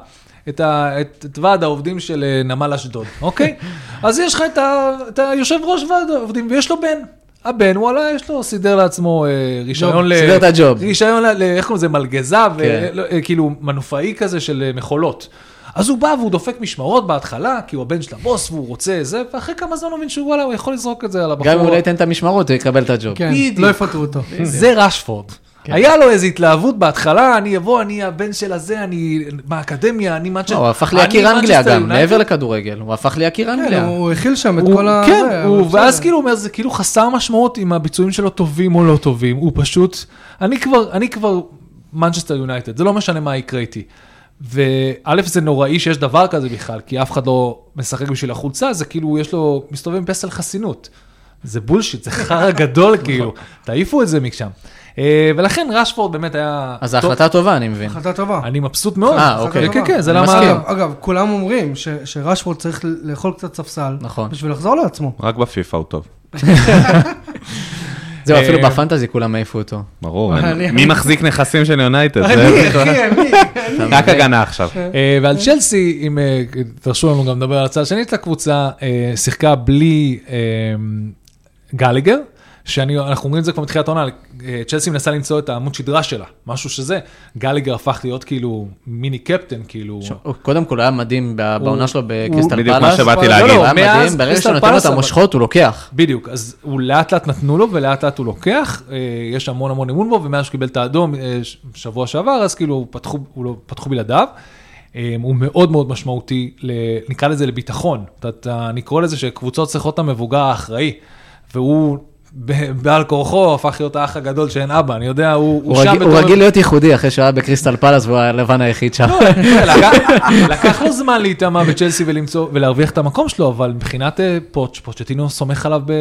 B: את, ה, את, את ועד העובדים של אה, נמל אשדוד, אוקיי? אז יש לך את, ה, את היושב ראש ועד העובדים, ויש לו בן. הבן, וואלה, יש לו, סידר לעצמו אה, רישיון ל...
D: לא, סידר את הג'וב.
B: רישיון, ל- ל- איך קוראים לזה, מלגזה,
D: כן.
B: ו- לא, אה, כאילו מנופאי כזה של אה, מכולות. אז הוא בא והוא דופק משמרות בהתחלה, כי הוא הבן של הבוס והוא רוצה זה, ואחרי כמה זמן הוא מבין שהוא וואלה, הוא יכול לזרוק את זה על הבחור.
D: גם אם הוא לא ייתן את המשמרות, הוא יקבל את הג'וב.
A: כן,
B: בדיוק.
A: לא יפטרו אותו.
B: זה רשפורד.
D: כן.
B: היה לו איזו התלהבות בהתחלה, אני אבוא, אני הבן של הזה, אני מהאקדמיה, אני
D: לא,
B: מנצ'סטר.
D: הוא הפך ליקיר אנגליה גם, מעבר לכדורגל, הוא הפך ליקיר
A: כן,
D: אנגליה.
A: הוא הכיל שם את
B: הוא-
A: כל ה...
B: כן,
A: זה,
B: הוא-
A: אבל
B: ואז
A: בסדר.
B: כאילו הוא אומר, זה כאילו חסר משמעות אם הביצועים שלו טובים או לא טובים, הוא פשוט, אני כבר, אני כבר מנצ'סטר יונייטד, זה לא משנה מה יקרה איתי. וא' זה נוראי שיש דבר כזה בכלל, כי אף אחד לא משחק בשביל החולצה, זה כאילו יש לו, מסתובב עם פסל חסינות. זה בולשיט, זה חרא גדול כאילו, תעיפו את זה משם. אה, ולכן רשפורד באמת היה...
D: אז
B: טוב.
D: ההחלטה טובה, אני מבין.
A: החלטה טובה.
B: אני מבסוט מאוד.
D: אה, אוקיי.
B: כן, כן, כן, זה
D: אני
B: למה...
D: מסכים.
A: אגב, אגב, כולם אומרים ש- שרשפורד צריך לאכול קצת ספסל,
D: נכון.
A: בשביל לחזור לעצמו.
C: רק בפיפא הוא טוב.
D: זהו, אפילו
B: אה,
D: בפנטזי כולם העיפו אותו.
C: ברור, אין-
A: אני-
C: מי מחזיק נכסים של יונייטד? זה-
A: אני, אחי, אני.
C: רק הגנה עכשיו.
B: אה, ועל צ'לסי, אם אה, תרשו לנו גם לדבר על הצד השני של הקבוצה, אה, שיחקה בלי אה, גלגר, שאנחנו אומרים את זה כבר מתחילת העונה, אה, צ'לסי מנסה למצוא את העמוד שדרה שלה, משהו שזה, גלגר הפך להיות כאילו מיני קפטן, כאילו...
D: ש- הוא- קודם כל, הוא היה מדהים ב- בעונה שלו בקריסטל פלאס.
C: בדיוק מה שבאתי
B: לא,
C: להגיד.
D: הוא היה
B: לא, מאז
D: מדהים, ברגע
B: קריסטל
D: שאתה נותן לו
B: פלאס,
D: את
B: אבל-
D: המושכות, הוא לוקח.
B: בדיוק, אז הוא לאט לאט נתנו לו ולאט לאט הוא לוקח, אה, יש המון המון אמון בו, ומאז שהוא קיבל את האדום אה, ש- שבוע שעבר, אז כאילו פתחו, הוא לא, פתחו בלעדיו. אה, הוא מאוד מאוד משמעותי, ל, נקרא לזה לביטחון, אתה, אתה, אני קורא לזה שקבוצות צריכות את המבוגר האחראי, והוא ב- בעל כורחו הפך להיות האח הגדול שאין אבא, אני יודע, הוא,
D: הוא רגיל- הוא רגיל להיות ייחודי אחרי שהוא היה בקריסטל פלאס והוא היה הלבן היחיד שם.
A: לא,
B: לקח- לקח לו זמן להיטמע בצ'לסי ולמצוא ולהרוויח את המקום שלו, אבל מבחינת אה, פוטש, פוצ'טינו סומך עליו ב...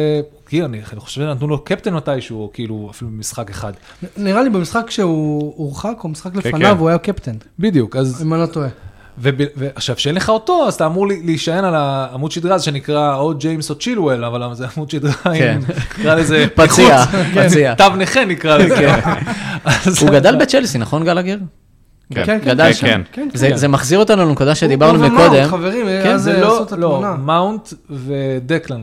B: כאילו, אני אני חושב שנתנו לו קפטן מתישהו, או כאילו אפילו במשחק אחד.
A: נראה לי במשחק שהוא הורחק, או משחק
C: כן.
A: לפניו, הוא היה קפטן,
B: בדיוק, אז...
A: אם אני לא טועה.
B: וב- ועכשיו, כשאין לך אותו, אז אתה אמור לי- להישען על העמוד שדרה הזה שנקרא או ג'יימס או צ'ילואל, אבל זה עמוד שדרה,
D: כן.
B: עם- נקרא לזה...
D: פציע,
B: פיחות.
D: פציע.
B: תו נכה נקרא לזה. אז-
D: הוא גדל בצ'לסי, נכון גלגר?
A: כן, כן,
D: גדל
A: כן,
D: שם.
A: כן, כן.
D: זה-
B: כן.
D: זה מחזיר אותנו לנקודה שדיברנו
A: הוא ומאונט,
D: מקודם.
A: חברים,
B: כן,
A: אז
B: זה
A: עשו
B: לא,
A: את
B: לא,
A: התמונה.
B: מאונט ודקלן,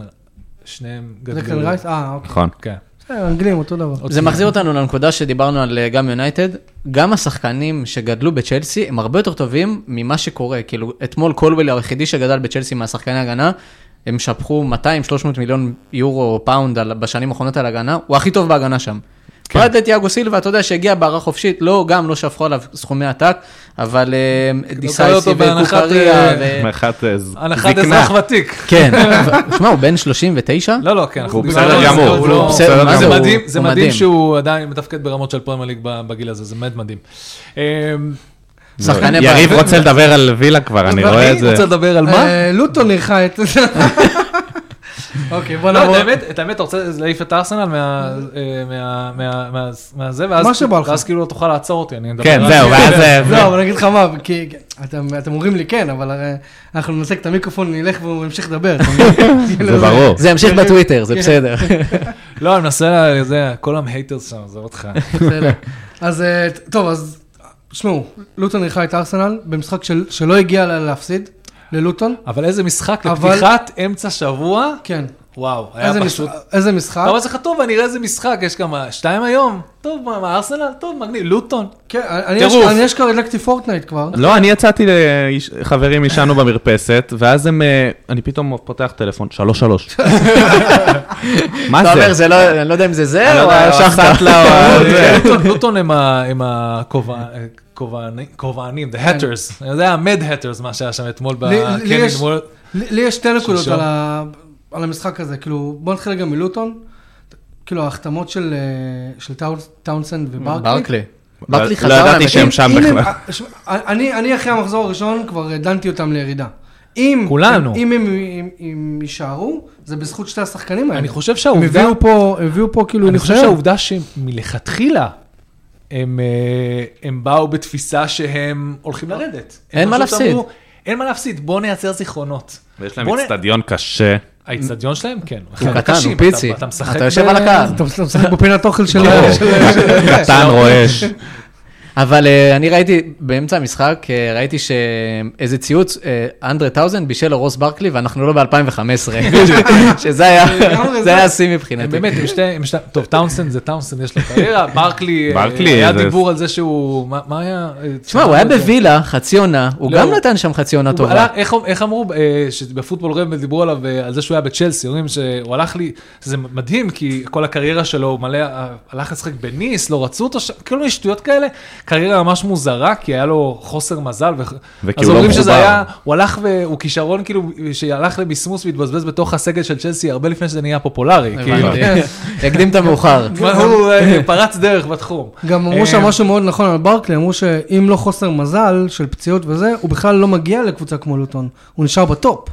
B: שניהם
A: זה
B: גדלו.
A: כאן רייס, אה, אוקיי.
C: נכון.
B: כן.
A: בסדר, אנגלים, אותו
B: אוקיי.
A: דבר.
D: זה מחזיר אותנו לנקודה שדיברנו על אה, גם יונייטד, גם השחקנים שגדלו בצ'לסי הם הרבה יותר טובים ממה שקורה. כאילו, אתמול קולוול היחידי שגדל בצ'לסי מהשחקני הגנה, הם שפכו 200-300 מיליון יורו או פאונד על- בשנים האחרונות על הגנה, הוא הכי טוב בהגנה שם. כן. פרט לתיאגו סילבה, אתה יודע שהגיע בהערה חופשית, לא, גם לא שפכו עליו סכומי עתק, אבל אה, דיסייסי
B: לא אותו בהנחת,
D: וקוקריה
B: אה,
D: ו...
C: הנחת אה, ז-
B: הנחת
C: זקנה.
B: אזרח ותיק.
D: כן, אבל- שמע, הוא בן 39?
B: לא, לא, כן. אנחנו
C: הוא
B: דיברנו
C: בסדר
B: על זה,
C: גמור,
B: הוא
C: הוא
B: לא-
C: בסדר
B: זה
C: גמור.
B: מדהים,
D: הוא
B: זה
D: מדהים.
B: מדהים שהוא עדיין מתפקד ברמות של פרמייר ליג ב- בגיל הזה, זה באמת מדהים. אמ,
D: שחקני
C: יריב
D: בעיה.
C: רוצה לדבר על וילה כבר, אני רואה את
B: ואני
C: זה.
B: רוצה לדבר על מה?
A: אה, לוטון אירחה את זה. אוקיי, בוא
B: לא,
A: נעבור.
B: את האמת, את האמת, אתה רוצה להעיף את ארסנל מה- אה, מה- מה- מה- מהזה, ואז-
A: מה שבא לך.
B: ואז כאילו לא תוכל לעצור אותי, אני מדבר
C: כן,
B: על-
C: זהו, ואז... אה,
A: לא, אבל אני אגיד לך מה, כי אתם אתם אומרים לי כן, אבל הרי אנחנו ננתק את המיקרופון, נלך והוא ימשיך לדבר. אתה מבין? כאילו,
C: זה ברור.
D: זה ימשיך בטוויטר, זה בסדר.
B: לא, אני מנסה, לה- זה, כל ההייטרס שם, עזוב אותך.
A: בסדר. אז אה, ט- טוב, אז תשמעו, לוטון אירחה את ארסנל במשחק של- שלא הגיע לה להפסיד, ללוטון.
B: אבל איזה משחק
A: אבל-
B: לפתיחת אמצע שבוע,
A: כן.
B: וואו, היה
A: איזה
B: פשוט...
A: משחק- איזה משחק.
B: אתה אומר לך, טוב, אני אראה איזה משחק, יש כמה, שתיים היום, טוב, מה, מה, ארסנל, טוב, מגניב, לוטון.
A: כן, אני-
B: טירוף.
A: אני אשכרה הדלקתי פורטנייט כבר.
C: לא, אני יצאתי, לאיש- חברים עישנו במרפסת, ואז הם... אה, אני פתאום פותח טלפון, שלוש שלוש. מה
D: אתה אומר,
C: זה?
D: זה לא, אני לא יודע אם זה
C: אני
D: זה
C: לא אה, כן.
D: או
C: יודע,
D: השחטה.
C: הסטלה או
B: לא
C: זה.
B: לוטון- לוטון הם ה- הם הכובענים, כובענים, the hatters, זה המד hatters מה שהיה שם אתמול, ב-
A: לי- לי
B: כן,
A: יש-
B: אתמול-
A: לי לי יש שתי נקודות
B: שלשום.
A: על ה- על המשחק הזה, כאילו, בוא נתחיל רגע מלוטון. כאילו ההחתמות של, אה, של טאונס- טאונסנד וברקלי.
D: ברקלי.
C: לא-
D: ברקלי
C: לא
D: חזר
C: ידעתי
D: להם,
C: שהם
D: אם-
C: שם.
A: אם הם-
C: בכלל.
A: אה, שמע, אני, אני אחרי המחזור הראשון כבר אה, דנתי אותם לירידה. אם,
B: כולנו.
A: אם, אם, אם, אם יישארו, זה בזכות שתי השחקנים האלה.
B: אני חושב
A: הם
B: שהעובדה,
A: הביאו פה, הביאו פה כאילו
B: אני חושב
A: ניסיון.
B: שהעובדה שמלכתחילה, הם, אה, הם באו בתפיסה שהם הולכים לרדת. הם
D: לא. אין מה
B: פשוט
D: להפסיד.
B: אמרו, אין מה להפסיד, בוא נייצר זיכרונות.
C: ויש להם
B: בוא נ-
C: אצטדיון קשה.
B: האיצטדיון שלהם, כן.
D: הוא
B: אחד
D: קטן,
B: הקשים,
D: הוא פיצי.
B: אתה- אתה משחק
D: אתה יושב על הקהל.
B: לא,
A: אתה אתה משחק בפינת אוכל של...
C: ברור.
A: של- של-
C: קטן רועש.
D: אבל אה, אני ראיתי, באמצע המשחק, אה, ראיתי שאיזה ציוץ, אה, אנדרה טאוזן בישל לרוס ברקלי, ואנחנו לא ב-2015, שזה היה-
A: לגמרי
D: זה היה
A: זה.
D: השיא מבחינתי.
B: באמת, עם שתי, עם שתי, טוב, טאונסן זה טאונסן, יש לו קריירה, ברקלי, אה,
C: ברקלי,
B: היה
C: זה-
B: דיבור על זה שהוא, מה מה היה? אה,
D: תשמע, הוא היה בווילה, חצי עונה, הוא
B: לא,
D: גם
B: הוא-
D: נתן שם חצי עונה
B: הוא
D: טובה.
B: הלך- איך- איך אמרו, אה, שבפוטבול רב דיברו עליו, אה, על זה שהוא היה בצ'לסי, אומרים שהוא הלך לי, זה מדהים, כי כל הקריירה שלו, הוא מלא, אה, הלך לשחק בניס, לא רצו אותו, ש- כל מיני שטויות כאלה, קריירה ממש מוזרה, כי היה לו חוסר מזל, ו-
C: וכי
B: אז
C: הוא לא
B: אומרים שזה
C: מחובר.
B: היה, הוא הלך, והוא כישרון כאילו, שהלך למסמוס והתבזבז בתוך הסגל של צ'לסי הרבה לפני שזה נהיה פופולרי, כאילו.
D: הבנתי. יקדים את המאוחר.
B: כבר הוא אה, פרץ דרך בתחום.
A: גם אמרו שם
B: אה,
A: משהו מאוד נכון על ברקלי, אמרו שאם לא חוסר מזל של פציעות וזה, הוא בכלל לא מגיע לקבוצה כמו לוטון, הוא נשאר בטופ.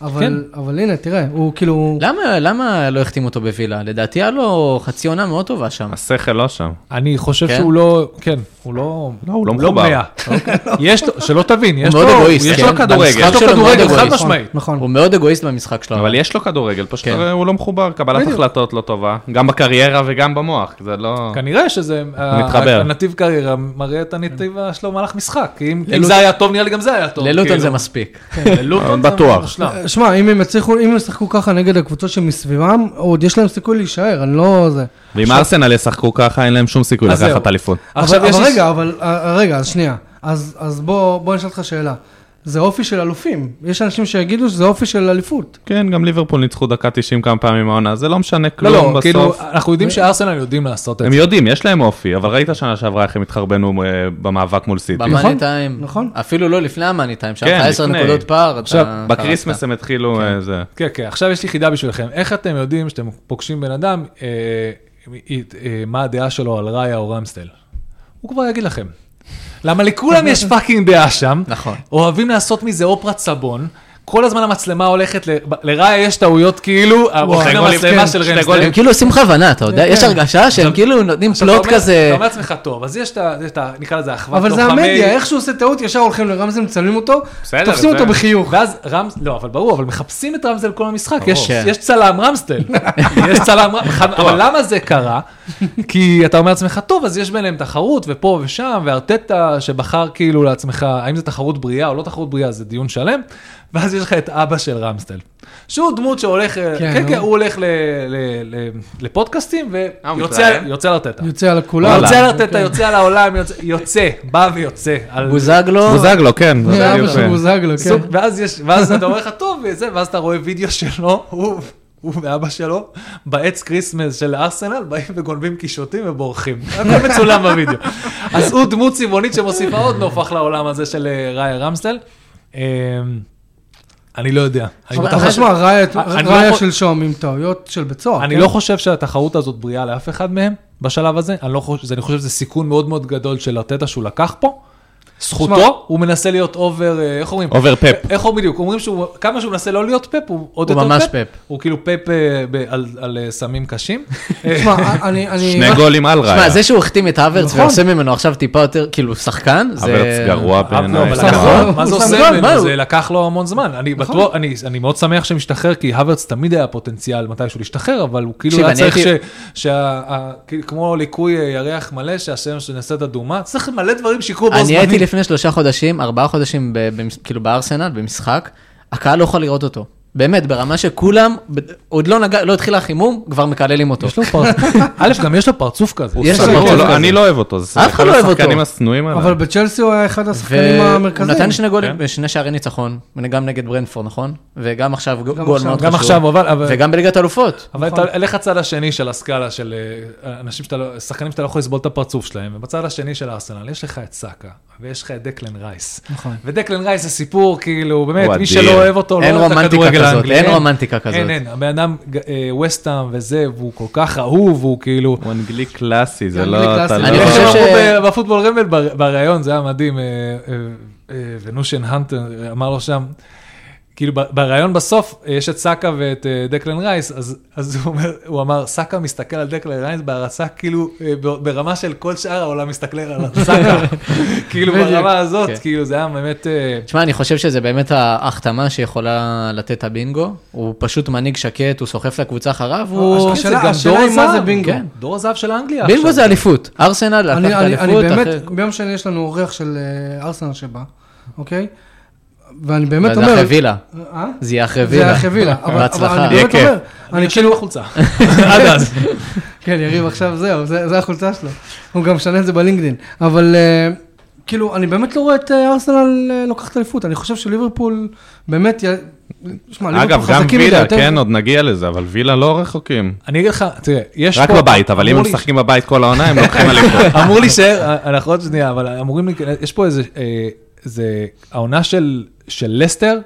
B: כן.
A: אבל, אבל הנה, תראה, הוא כאילו...
D: למה- למה לא החתימו אותו בווילה? לדעתי היה לו חצי עונה מאוד טובה שם.
C: השכל לא שם.
B: אני חושב
D: כן?
B: שהוא לא, כן, הוא לא,
C: לא, הוא לא מחובר.
B: מאה. יש לו, שלא תבין, יש
D: אוקיי. הוא מאוד
B: לו,
D: אגואיסט,
B: יש
D: כן?
B: לו כדורגל,
D: במשחק
B: יש לו
D: שלו הוא מאוד
B: כדורגל, חד
D: אגואיסט.
B: משמעית.
A: נכון.
D: הוא מאוד אגואיסט במשחק
B: לא.
D: שלו.
C: אבל יש לו כדורגל, פשוט
D: כן.
C: הוא לא מחובר, קבלת החלטות לא טובה, גם בקריירה וגם במוח, זה
D: אה.
C: לא...
B: כנראה שזה, אה,
C: מתחבר.
B: הנתיב קריירה מראה את הנתיב שלו במהלך משחק, כי אם אם
D: ללוט-
B: זה היה טוב נראה לי גם זה היה טוב.
D: ללוטון
B: כאילו.
D: זה מספיק.
B: ללוטון זה
C: בטוח.
B: מושלם.
A: אה, שמע, אם הם יצליחו, אם הם ישחקו ככה נגד הקבוצות שמסביבם, עוד יש להם סיכוי להישאר, אני לא... זה.
C: ואם ארסנל ישחקו ככה, אין להם שום סיכוי
B: אז זהו.
C: לקחת אליפות.
B: עכשיו
A: אבל,
B: יש...
A: אבל רגע, אבל אה, רגע, אז שנייה. אז, אז בוא, בוא נשאל אותך שאלה. זה אופי של אלופים. יש אנשים שיגידו שזה אופי של אליפות.
C: כן, גם ליברפול ניצחו דקה 90 כמה פעמים העונה, זה לא משנה
B: לא,
C: כלום
B: לא, כאילו,
C: בסוף.
B: אנחנו יודעים שארסנל יודעים לעשות את
C: הם
B: זה.
C: יודעים, יש להם אופי, אבל ראית שנה שעברה איך הם התחרבנו אה, במאבק מול סיטי.
A: נכון,
D: במאני טיים.
A: נכון.
D: אפילו לא לפני המאני טיים, שם
C: כן,
D: 10
C: לפני.
D: נקודות פער. אתה
B: עכשיו,
D: חרטת.
C: בקריסמס הם התחילו אה, זה.
B: כן, כן, עכשיו יש לי חידה בשבילכם. איך אתם יודעים שאתם פוגשים בן אדם, אה, אה, מה הדעה שלו על ראיה או רמסטל? הוא כבר יגיד לכם. למה לכולם יש פאקינג דעה שם,
D: נכון.
B: אוהבים לעשות מזה אופרת סבון, כל הזמן המצלמה הולכת, ל- לראיה יש טעויות כאילו, הולכים
C: גולים,
B: המצלמה
C: כן,
B: של
C: שתי
B: רמסטל.
C: גולים.
D: הם כאילו עושים בכוונה, אתה
A: כן,
D: יודע? יש הרגשה שהם כאילו נותנים
B: עכשיו, אתה
D: פלוט
B: אומר- אתה
D: כזה.
B: אומר לעצמך, טוב, אז יש את ה- יש את ה... נקרא לזה אחוות
A: אבל
B: לוחמי...
A: זה המדיה, איך שהוא עושה טעות, ישר הולכים לרמזי, מצלמים אותו,
C: בסדר,
A: תופסים
C: זה-
A: אותו בחיוך.
B: ואז רמס, לא, אבל ברור, אבל מחפשים את רמסטל כל המשחק, יש,
D: כן.
B: יש צלם רמסטל, יש צלם רמסטל, אבל למה זה קרה? כי אתה אומר לעצמך, טוב, אז יש ביניהם תחרות, ופה ושם, וארטטה שבחר כאילו לעצמך, האם זה תחרות בריאה או לא תחרות בריאה, זה דיון שלם, ואז יש לך את אבא של רמסטל, שהוא דמות שהולך, כן,
A: כן,
B: כן,
A: נו.
B: כן הוא הולך ל, ל, ל, לפודקאסטים
C: הוא
B: ויוצא
C: מתראיין?
B: יוצא לארטטה.
A: יוצא כן. על הכולם.
B: יוצא לארטטה, יוצא על העולם, יוצא- יוצא, בא ויוצא. על- לא,
D: בוזגלו.
C: בוזגלו, כן.
A: זה
C: זה
A: אבא
C: יפה.
A: של בוזגלו, כן.
B: סוג, ואז, יש, ואז אתה אומר לך, טוב, וזה, ואז אתה רואה וידאו שלו, הוא, הוא ואבא שלו, בעץ כריסמס של ארסנל, באים וגונבים קישוטים ובורחים. הכל מצולם בווידאו. אז הוא דמות צבעונית שמוסיפה עוד נופח לעולם הזה של אה, ראיה רמסטל. אמ, אני לא יודע. אני
A: אבל
B: בטח-
A: אבל שמע, ראיה-
B: אני לא
A: ראיה
B: יכול-
A: של שוהם עם טעויות של בית סוהר.
B: אני
A: כן?
B: לא חושב שהתחרות הזאת בריאה לאף אחד מהם בשלב הזה. אני לא חושב, אני חושב שזה סיכון מאוד מאוד גדול של ארטטה שהוא לקח פה.
A: שמע,
B: זכותו, הוא מנסה להיות אובר, אה, איך אומרים?
C: אובר פאפ.
B: איך הוא בדיוק, אומרים שהוא, כמה שהוא מנסה לא להיות פאפ, הוא עוד
D: הוא
B: יותר
D: ממש
B: פאפ.
D: פאפ.
B: הוא כאילו פאפ אה, ב- על- על אה, סמים קשים.
A: תשמע, אני... אני-
C: שני גולים על ראיה.
D: שמע, זה שהוא החתים את האוורץ
A: נכון.
D: ועושה ממנו עכשיו טיפה יותר, כאילו, שחקן, זה...
C: אברץ
B: לא,
C: גרוע בעיניי.
B: אבל
A: סתם
B: לקח
A: גול.
B: לו- מה זה
A: הוא
D: שם
B: עושה
D: גול, מה
B: ממנו?
D: הוא? נכון.
B: זה לקח לו המון זמן. אני בטוח, אני- אני מאוד שמח שמשתחרר, כי האוורץ תמיד היה פוטנציאל מתישהו להשתחרר, אבל הוא כאילו
D: תקשיב,
B: היה
D: אני
B: צריך
D: הייתי-
B: ש... שה- ה- כאילו, כמו ליקוי אה, ירח מלא, שהשם שנעשית אדומה, צריך מלא דברים שיקרו בו זמנית.
D: אני הייתי לפני שלושה חודשים, ארבעה חודשים, ב- במס- כאילו בארסנל, במשחק, הקהל לא יכול לראות אותו. באמת, ברמה שכולם, ב- עוד לא נגע, לא התחיל החימום, כבר מקללים אותו.
B: יש לו פרצוף, א', גם יש לו פרצוף כזה.
D: יש לו
C: סגור,
D: מצב
C: לא,
D: כזה.
C: אני לא אוהב אותו, זה
D: אף אחד לא אוהב אותו.
C: השחקנים השנואים עליו.
A: אבל בצ'לסי הוא היה אחד השחקנים
D: והוא
A: המרכזיים.
D: נתן שני
B: כן.
D: גולים, שני שערי ניצחון, גם נגד ברנפורד, נכון? וגם עכשיו גול מאוד
A: עכשיו,
D: חשוב.
B: גם עכשיו, אבל... אבל-
D: וגם נכון. בליגת אלופות.
B: אבל אתה הולך לצד השני של הסקאלה של אה, אנשים שאתה לא, שחקנים שאתה לא יכול לסבול את הפרצוף שלהם, ובצד השני של הארסנל יש לך את סאקה, ויש לך את דקלן רייס.
A: נכון.
B: ודקלן רייס זה סיפור, כאילו, באמת,
C: הוא
B: מי
C: אדיר.
B: שלא אוהב אותו, לא
D: אין
B: אוהב את
D: רומנטיקה
B: הכדורגל
D: כזאת,
B: האנגלי.
D: אין רומנטיקה כזאת.
B: אין, אין, הבן אדם ווסטאם וזה, והוא כל כך אהוב, הוא כאילו...
C: הוא אנגלי קלאסי, זה
A: אנגלי
C: לא...
A: קלאסי.
C: אתה
A: אני
C: לא-
B: אני
D: חושב
B: חושב
D: ש-
B: בפוטבול רמבל בר- בריאיון, זה היה מדהים, אה, אה, אה, ונושן הנטר אמר לו שם, כאילו ב- בריאיון בסוף, אה, יש את סאקה ואת אה, דקלן רייס, אז, אז הוא, אומר, הוא אמר, סאקה מסתכל על דקלן רייס בהרסה, כאילו, אה, ב- ברמה של כל שאר העולם מסתכל על סאקה, כאילו
D: בדיוק,
B: ברמה הזאת,
D: כן.
B: כאילו זה היה באמת... אה,
D: תשמע, אני חושב שזה באמת ההחתמה שיכולה לתת הבינגו. הוא פשוט מנהיג שקט, הוא סוחף לקבוצה
A: לא,
D: אחריו, הוא...
A: השאלה- השאלה היא מה זה בינגו.
D: כן.
B: דור הזהב של האנגליה
D: בינגו זה אליפות. ארסנל לקח
A: אני,
D: את
A: אני, אני
D: האליפות.
A: באמת,
D: אחרי-
A: ביום שני יש לנו אורח של אה, ארסנל שבא, אוקיי? ואני באמת
D: וזה
A: אומר...
D: אחרי וילה.
A: אה?
D: זה יהיה אחרי וילה.
A: זה אחרי וילה. אבל- אבל
D: בהצלחה.
A: אני באמת
C: יהיה
A: אומר, אני כאילו...
B: חולצה. עד אז.
A: כן, יריב עכשיו זהו, זה, זה החולצה שלו. הוא גם משנה את זה בלינקדין. אבל אה, כאילו, אני באמת לא רואה את אה, ארסנל אה, לוקחת אליפות. אני חושב שליברפול באמת... י... שמע, ליברפול
C: אגב, גם
A: חזקים מדי,
C: וילה,
A: יותר-
C: כן, עוד נגיע לזה, אבל וילה לא רחוקים.
B: אני אגיד לך, תראה, יש
C: רק
B: פה...
C: בבית, אבל אם
B: אמור
C: הם
B: לי-
C: משחקים בבית כל העונה, הם לוקחים אליפות.
B: אמור להישאר, אנחנו עוד שנייה, אבל אמורים, להיכנס- יש פה איזה, אה, זה העונה של של לסטר,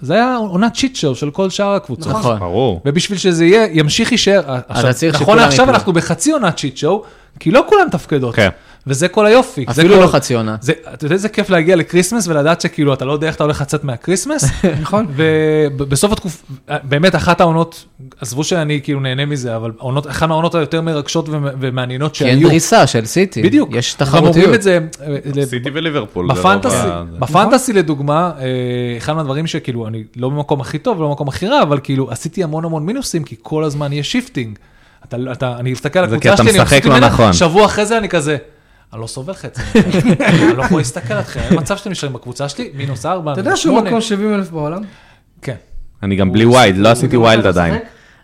B: זה היה עונת צ'יט שואו של כל שאר הקבוצות.
D: נכון.
C: ברור.
B: ובשביל שזה יהיה, ימשיך יישאר. עכשיו,
D: צריך
B: נכון,
D: שכולם
B: עכשיו
D: ייפלו.
B: אנחנו בחצי עונת צ'יט שואו, כי לא כולן מתפקדות.
C: כן.
B: וזה כל היופי. זה
D: אפילו
B: כל-
D: לא חצי עונה.
B: זה- אתה יודע איזה כיף להגיע לקריסמס ולדעת שכאילו אתה לא יודע איך אתה הולך לצאת מהקריסמס?
A: נכון.
B: ובסוף התקופה, באמת אחת העונות, עזבו שאני כאילו נהנה מזה, אבל העונות- אחת העונות היותר מרגשות ומ- ומעניינות
D: כי אין
B: שהיו.
D: דריסה של סיטי.
B: בדיוק.
D: יש
B: גם אומרים
D: תחרותיות.
B: את זה, אה, ל-
C: סיטי וליברפול. זה
B: בפנטסי,
C: לא ב-
B: בפנטסי לדוגמה, אה, אחד מהדברים שכאילו, אני לא במקום הכי טוב, לא במקום הכי רע, אבל כאילו עשיתי המון המון מינוסים, כי כל הזמן יש שיפטינג. אתה, אתה, אני מסתכל על
C: זה כי
B: הקבוצה
C: אתה
B: שלי, אני
C: משחק
B: מפסיק
C: לא
B: ממנה,
C: נכון.
B: שבוע אחרי זה אני כזה, אני לא סובל חצי, אני לא יכול להסתכל עליכם, אין מצב שאתם נשארים בקבוצה שלי, מינוס ארבע,
A: אתה
B: מינוס
A: יודע שהוא
B: שמונה.
A: מקום 70 אלף בעולם?
B: כן.
C: אני גם בלי ווילד, לא עשיתי ווילד עדיין.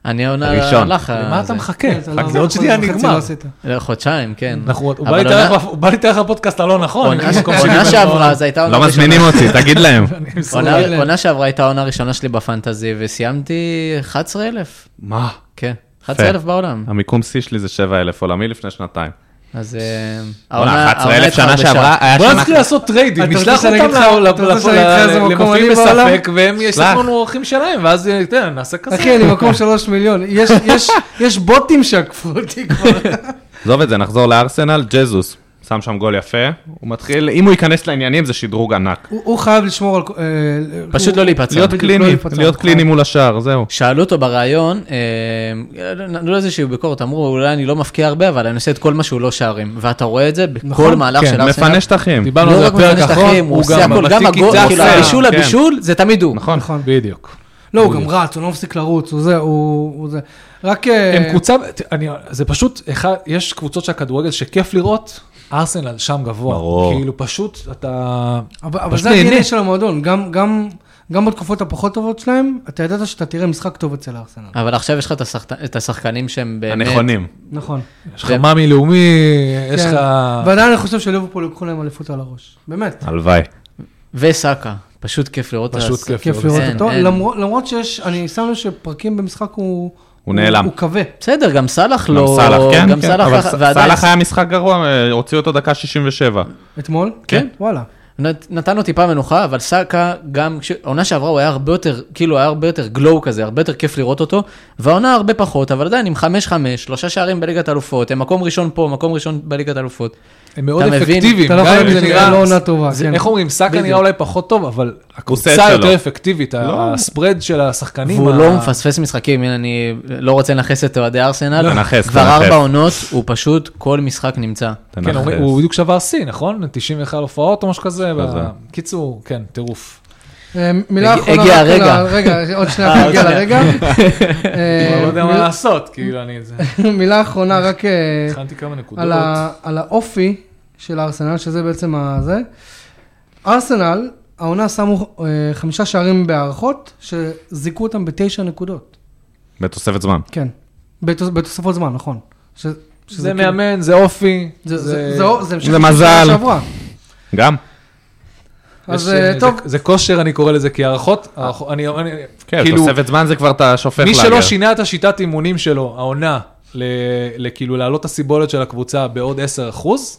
D: אני
C: הראשון.
D: עונה הלך...
B: למה אתה מחכה?
A: לא-
B: רק זה עוד שנייה
A: חצי לא
B: נגמר.
A: עשית.
D: חודשיים, כן.
B: אנחנו- הוא נכון. בא
D: אבל
B: להתארח
D: עונה-
B: בפ- הוא בא להתארח בפודקאסט הלא נכון.
D: עונה-
B: אני במקום
D: עונה
B: שאני-
D: שעברה זה הייתה עונה
C: לא
D: ראשונה.
C: מזמינים אותי, תגיד להם.
A: עונה
D: עונה-
A: אלה.
D: עונה שעברה הייתה העונה הראשונה שלי בפנטזי, וסיימתי 11,000.
C: מה?
D: כן, 11,000 בעולם.
C: המיקום שיא שלי זה 7,000 עולמי לפני שנתיים.
D: אז אה,
C: בואנה,
D: העונה... העונה
C: 11,000 שנה
D: התחרבשה.
C: שעברה, היה
B: בוא
C: שנה...
B: נתחיל לעשות טריידים,
A: אתה רוצה
B: נשלח
A: שאני
B: אותם
A: אגיד לך-
B: ל-
A: אתה רוצה שאני
B: ל-
A: אגיד לך איזה
B: ל-
A: מקום
B: למפעיל
A: אני בעולם?
B: בספק, והם
C: שלח.
B: ישלחו לנו אורחים שלהם, ואז אה, תראה, נעשה כזה.
A: אחי, אני מקום 3 מיליון. יש- יש- יש בוטים שעקפו אותי כבר.
C: עזוב את זה, נחזור לארסנל, ג'זוס. שם שם גול יפה, הוא מתחיל, אם הוא ייכנס לעניינים זה שדרוג ענק.
A: הוא הוא חייב לשמור על... אה,
D: פשוט
A: הוא-
D: לא להיפצע.
C: להיות
A: בדיוק, לא
C: קליני,
A: להיפצע.
C: להיות קליני מול השער, זהו.
D: שאלו אותו בריאיון, אה, נתנו לו איזושהי ביקורת, אמרו, אולי אני לא מפקיע הרבה, אבל אני עושה את כל מה שהוא לא שערים. ואתה רואה את זה בכל
A: נכון,
D: מהלך
B: כן,
D: של ארסנל.
C: מפנה שטחים.
B: דיברנו על
D: לא
B: זה
D: רק
B: בפרק
D: מפנה שטחים,
B: האחרון,
D: הוא עושה הכל, גם
B: בטיקי
D: הגול,
B: טקה,
D: כאילו
C: עושה,
D: הבישול
C: כן.
D: לבישול, זה תמיד הוא.
C: נכון.
A: נכון.
B: בדיוק.
A: לא, הוא גם רץ, הוא לא מפסיק לרוץ, הוא זה, הוא הוא זה. רק... אה,
B: הם קבוצה, ת- אני- זה פשוט, אחד- יש קבוצות של הכדורגל שכיף לראות, ארסנל שם גבוה.
C: ברור.
B: כאילו פשוט, אתה...
A: אבל אבל
B: פשוט
A: זה
B: נהנה.
A: ה-DNA של המועדון, גם- גם- גם בתקופות הפחות טובות שלהם, אתה ידעת שאתה תראה משחק טוב אצל הארסנל.
D: אבל עכשיו יש לך את השחק- את השחקנים שהם באמת...
C: הנכונים.
A: נכון.
B: יש לך מאמי לאומי, יש
A: כן.
B: לך... אה,
A: ועדיין אני חושב שליברפול לקחו להם אליפות על הראש. באמת.
C: הלוואי.
D: וסאקה, פשוט כיף לראות את
B: פשוט
D: הס-
B: כיף
A: כיף לראות
D: אין,
A: אותו,
D: אין.
A: למרות- למרות שיש, אני שם לב שפרקים במשחק הוא...
C: נעלם.
A: הוא כבה.
D: בסדר, גם סאלח
C: גם
D: לא...
C: סאלח, כן?
D: גם
C: כן.
D: סאלח,
C: אבל
D: ככה,
C: ס-
D: ועדיין-
C: סאלח היה משחק גרוע, אה, הוציאו אותו דקה 67.
A: אתמול?
C: כן.
A: וואלה.
D: נת- נתן לו טיפה מנוחה, אבל סאקה גם, כש- עונה שעברה הוא היה הרבה יותר, כאילו היה הרבה יותר גלואו כזה, הרבה יותר כיף לראות אותו, והעונה הרבה פחות, אבל עדיין עם 5-5, שלושה שערים בליגת אלופות, הם מקום ראשון פה, מקום ראשון בליגת אלופות.
B: הם מאוד
D: אתה מבין?
B: אפקטיביים.
A: אתה לא
B: גם
A: יכול
B: אם
A: להגיד,
B: זה
A: זה
B: נראה-
A: לא עונה טובה,
B: זה-
A: כן.
B: איך אומרים, סאקה
A: בדיוק.
B: נראה אולי פחות טוב, אבל
C: עושה את
B: הקבוצה
C: שלו.
B: יותר אפקטיבית, ה- הספרד של השחקנים.
D: והוא
B: ה-
D: לא מפספס משחקים, הנה, אני לא רוצה לנכס את אוהדי ארסנל,
C: לא. תנכס,
D: כבר
C: תנכס.
D: ארבע עונות, הוא פשוט כל משחק נמצא.
B: כן, אומרים, הוא בדיוק שבר שיא, נכון? 91 הופעות או משהו כזה.
C: כזה.
B: בקיצור, כן, טירוף.
A: אה, מילה
D: הגיע-
A: אחרונה.
D: הגיע
A: רק על
D: הרגע.
A: ה- רגע, עוד
D: אה,
A: שנייה נגיע
D: עוד
A: לרגע.
B: אני
A: אה,
B: כבר לא יודע מה
A: מילה-
B: לעשות, כאילו, אני... זה-
A: מילה אחרונה, רק אה,
B: הכנתי כמה נקודות.
A: על, ה, על האופי של ארסנל, שזה בעצם ה- זה. ארסנל, העונה שמו אה, חמישה שערים בהערכות, שזיכו אותם בתשע נקודות.
C: בתוספת זמן.
A: כן. בתוס, בתוספות זמן, נכון. ש, שזה
B: זה
A: כאילו-
B: מאמן, זה אופי.
A: זה, זה, זה, זה, המשך
C: זה
A: של
C: מזל.
A: שנה שעברה.
C: גם.
A: אז
B: יש,
A: אה,
B: אה,
A: טוב,
B: זה- זה כושר, אני קורא לזה, כי הערכות, הערכות- אני... אני-
C: כן,
B: כאילו,
C: תוספת זמן זה כבר אתה שופך
B: מי
C: לאגר.
B: שלא שינה את השיטת אימונים שלו, העונה, ל- לכאילו להעלות את הסיבולת של הקבוצה בעוד 10 אחוז,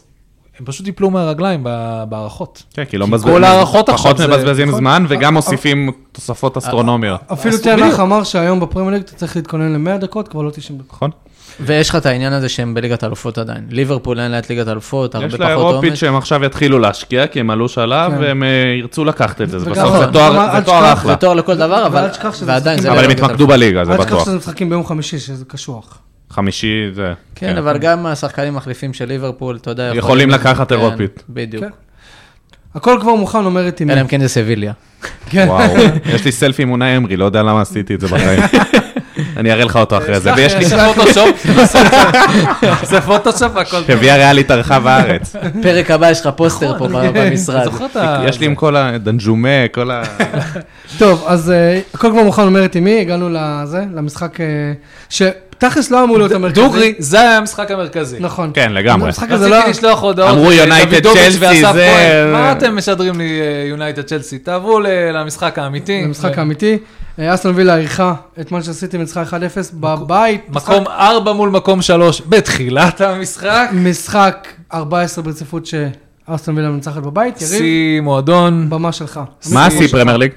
B: הם פשוט ייפלו מהרגליים ב- בהערכות.
C: כן, כי לא מבזבז...
B: כל ההערכות
C: פחות
B: עכשיו זה-
C: מבזבזים זמן,
D: אה,
C: וגם מוסיפים תוספות אסטרונומיות.
A: אפילו
B: אז בדיוק.
A: תנח אמר שהיום בפרמייר ליג אתה צריך להתכונן ל-100 דקות, כבר לא 90 דקות.
D: אה,
C: נכון?
D: ויש לך את העניין הזה שהם בליגת אלופות עדיין. ליברפול אין לה את ליגת אלופות, הרבה
C: יש
D: פחות
C: לאירופית
D: עומס.
C: שהם עכשיו יתחילו להשקיע, כי הם עלו שלב,
A: כן.
C: והם אה, ירצו לקחת את זה. זה
A: וגם-
C: בסוף זה
D: נכון.
C: תואר-
A: אבל
C: זה
A: אל
C: תואר
A: תשכח,
C: אחלה.
D: זה תואר לכל דבר, אבל
A: ואל תשכח שזה
D: ועדיין זה
A: משחקים-
D: לא
C: אבל הם
D: ליגת
C: התמקדו
D: אלופות.
C: בליגה, זה
A: אל תשכח
C: בטוח.
A: שזה משחקים ביום חמישי, שזה קשוח.
C: חמישי זה...
D: כן, אבל גם השחקנים המחליפים של ליברפול, אתה יודע,
C: יכולים לקחת
D: כן,
C: אירופית.
D: בדיוק.
A: כן. הכל כבר מוכן, אומרת אימי.
D: אלא אם כן זה סביליה.
A: כן.
C: וואו, יש לי סלפי עם אונאי אמרי, לא יודע למה עשיתי את זה בחיים. אני אראה לך אותו אחרי זה, ויש לי...
B: זה פוטושופ, זה פוטושופ, הכל טוב.
C: שהביאה ריאלית הרחב הארץ.
D: פרק הבא יש לך פוסטר פה ב- במשרד.
B: נכון, זוכר את ה...
C: יש לי עם כל הדנג'ומה, כל ה...
A: טוב, אז אה, הכל כבר מוכן, אומרת אימי, הגענו לזה, למשחק אה, שתכלס לא אמור להיות המרכזי.
B: כאילו, דוגרי, זה היה המשחק המרכזי.
A: נכון.
C: כן, לגמרי.
A: המשחק הזה לא...
B: רציתי לשלוח הודעות.
C: אמרו יונייטד,
B: לדוידוביץ'
C: צ'לסי,
B: ואסף
C: זה-
B: כהן. מה אתם משדרים לי אה, יונייטד צ'לסי? תעברו ל- למשחק האמיתי.
A: זה משחק האמיתי. אה, אסטון וילה אירחה את מנצ'סטר סיטי ניצחה 1-0 בבית.
B: מקום 4 מול מקום 3 בתחילת המשחק.
A: משחק 14 ברציפות שאסטון וילה מנצחת בבית. יריב,
B: שיא מועדון,
A: במה שלך.
C: מה השיא פרמייר ליג?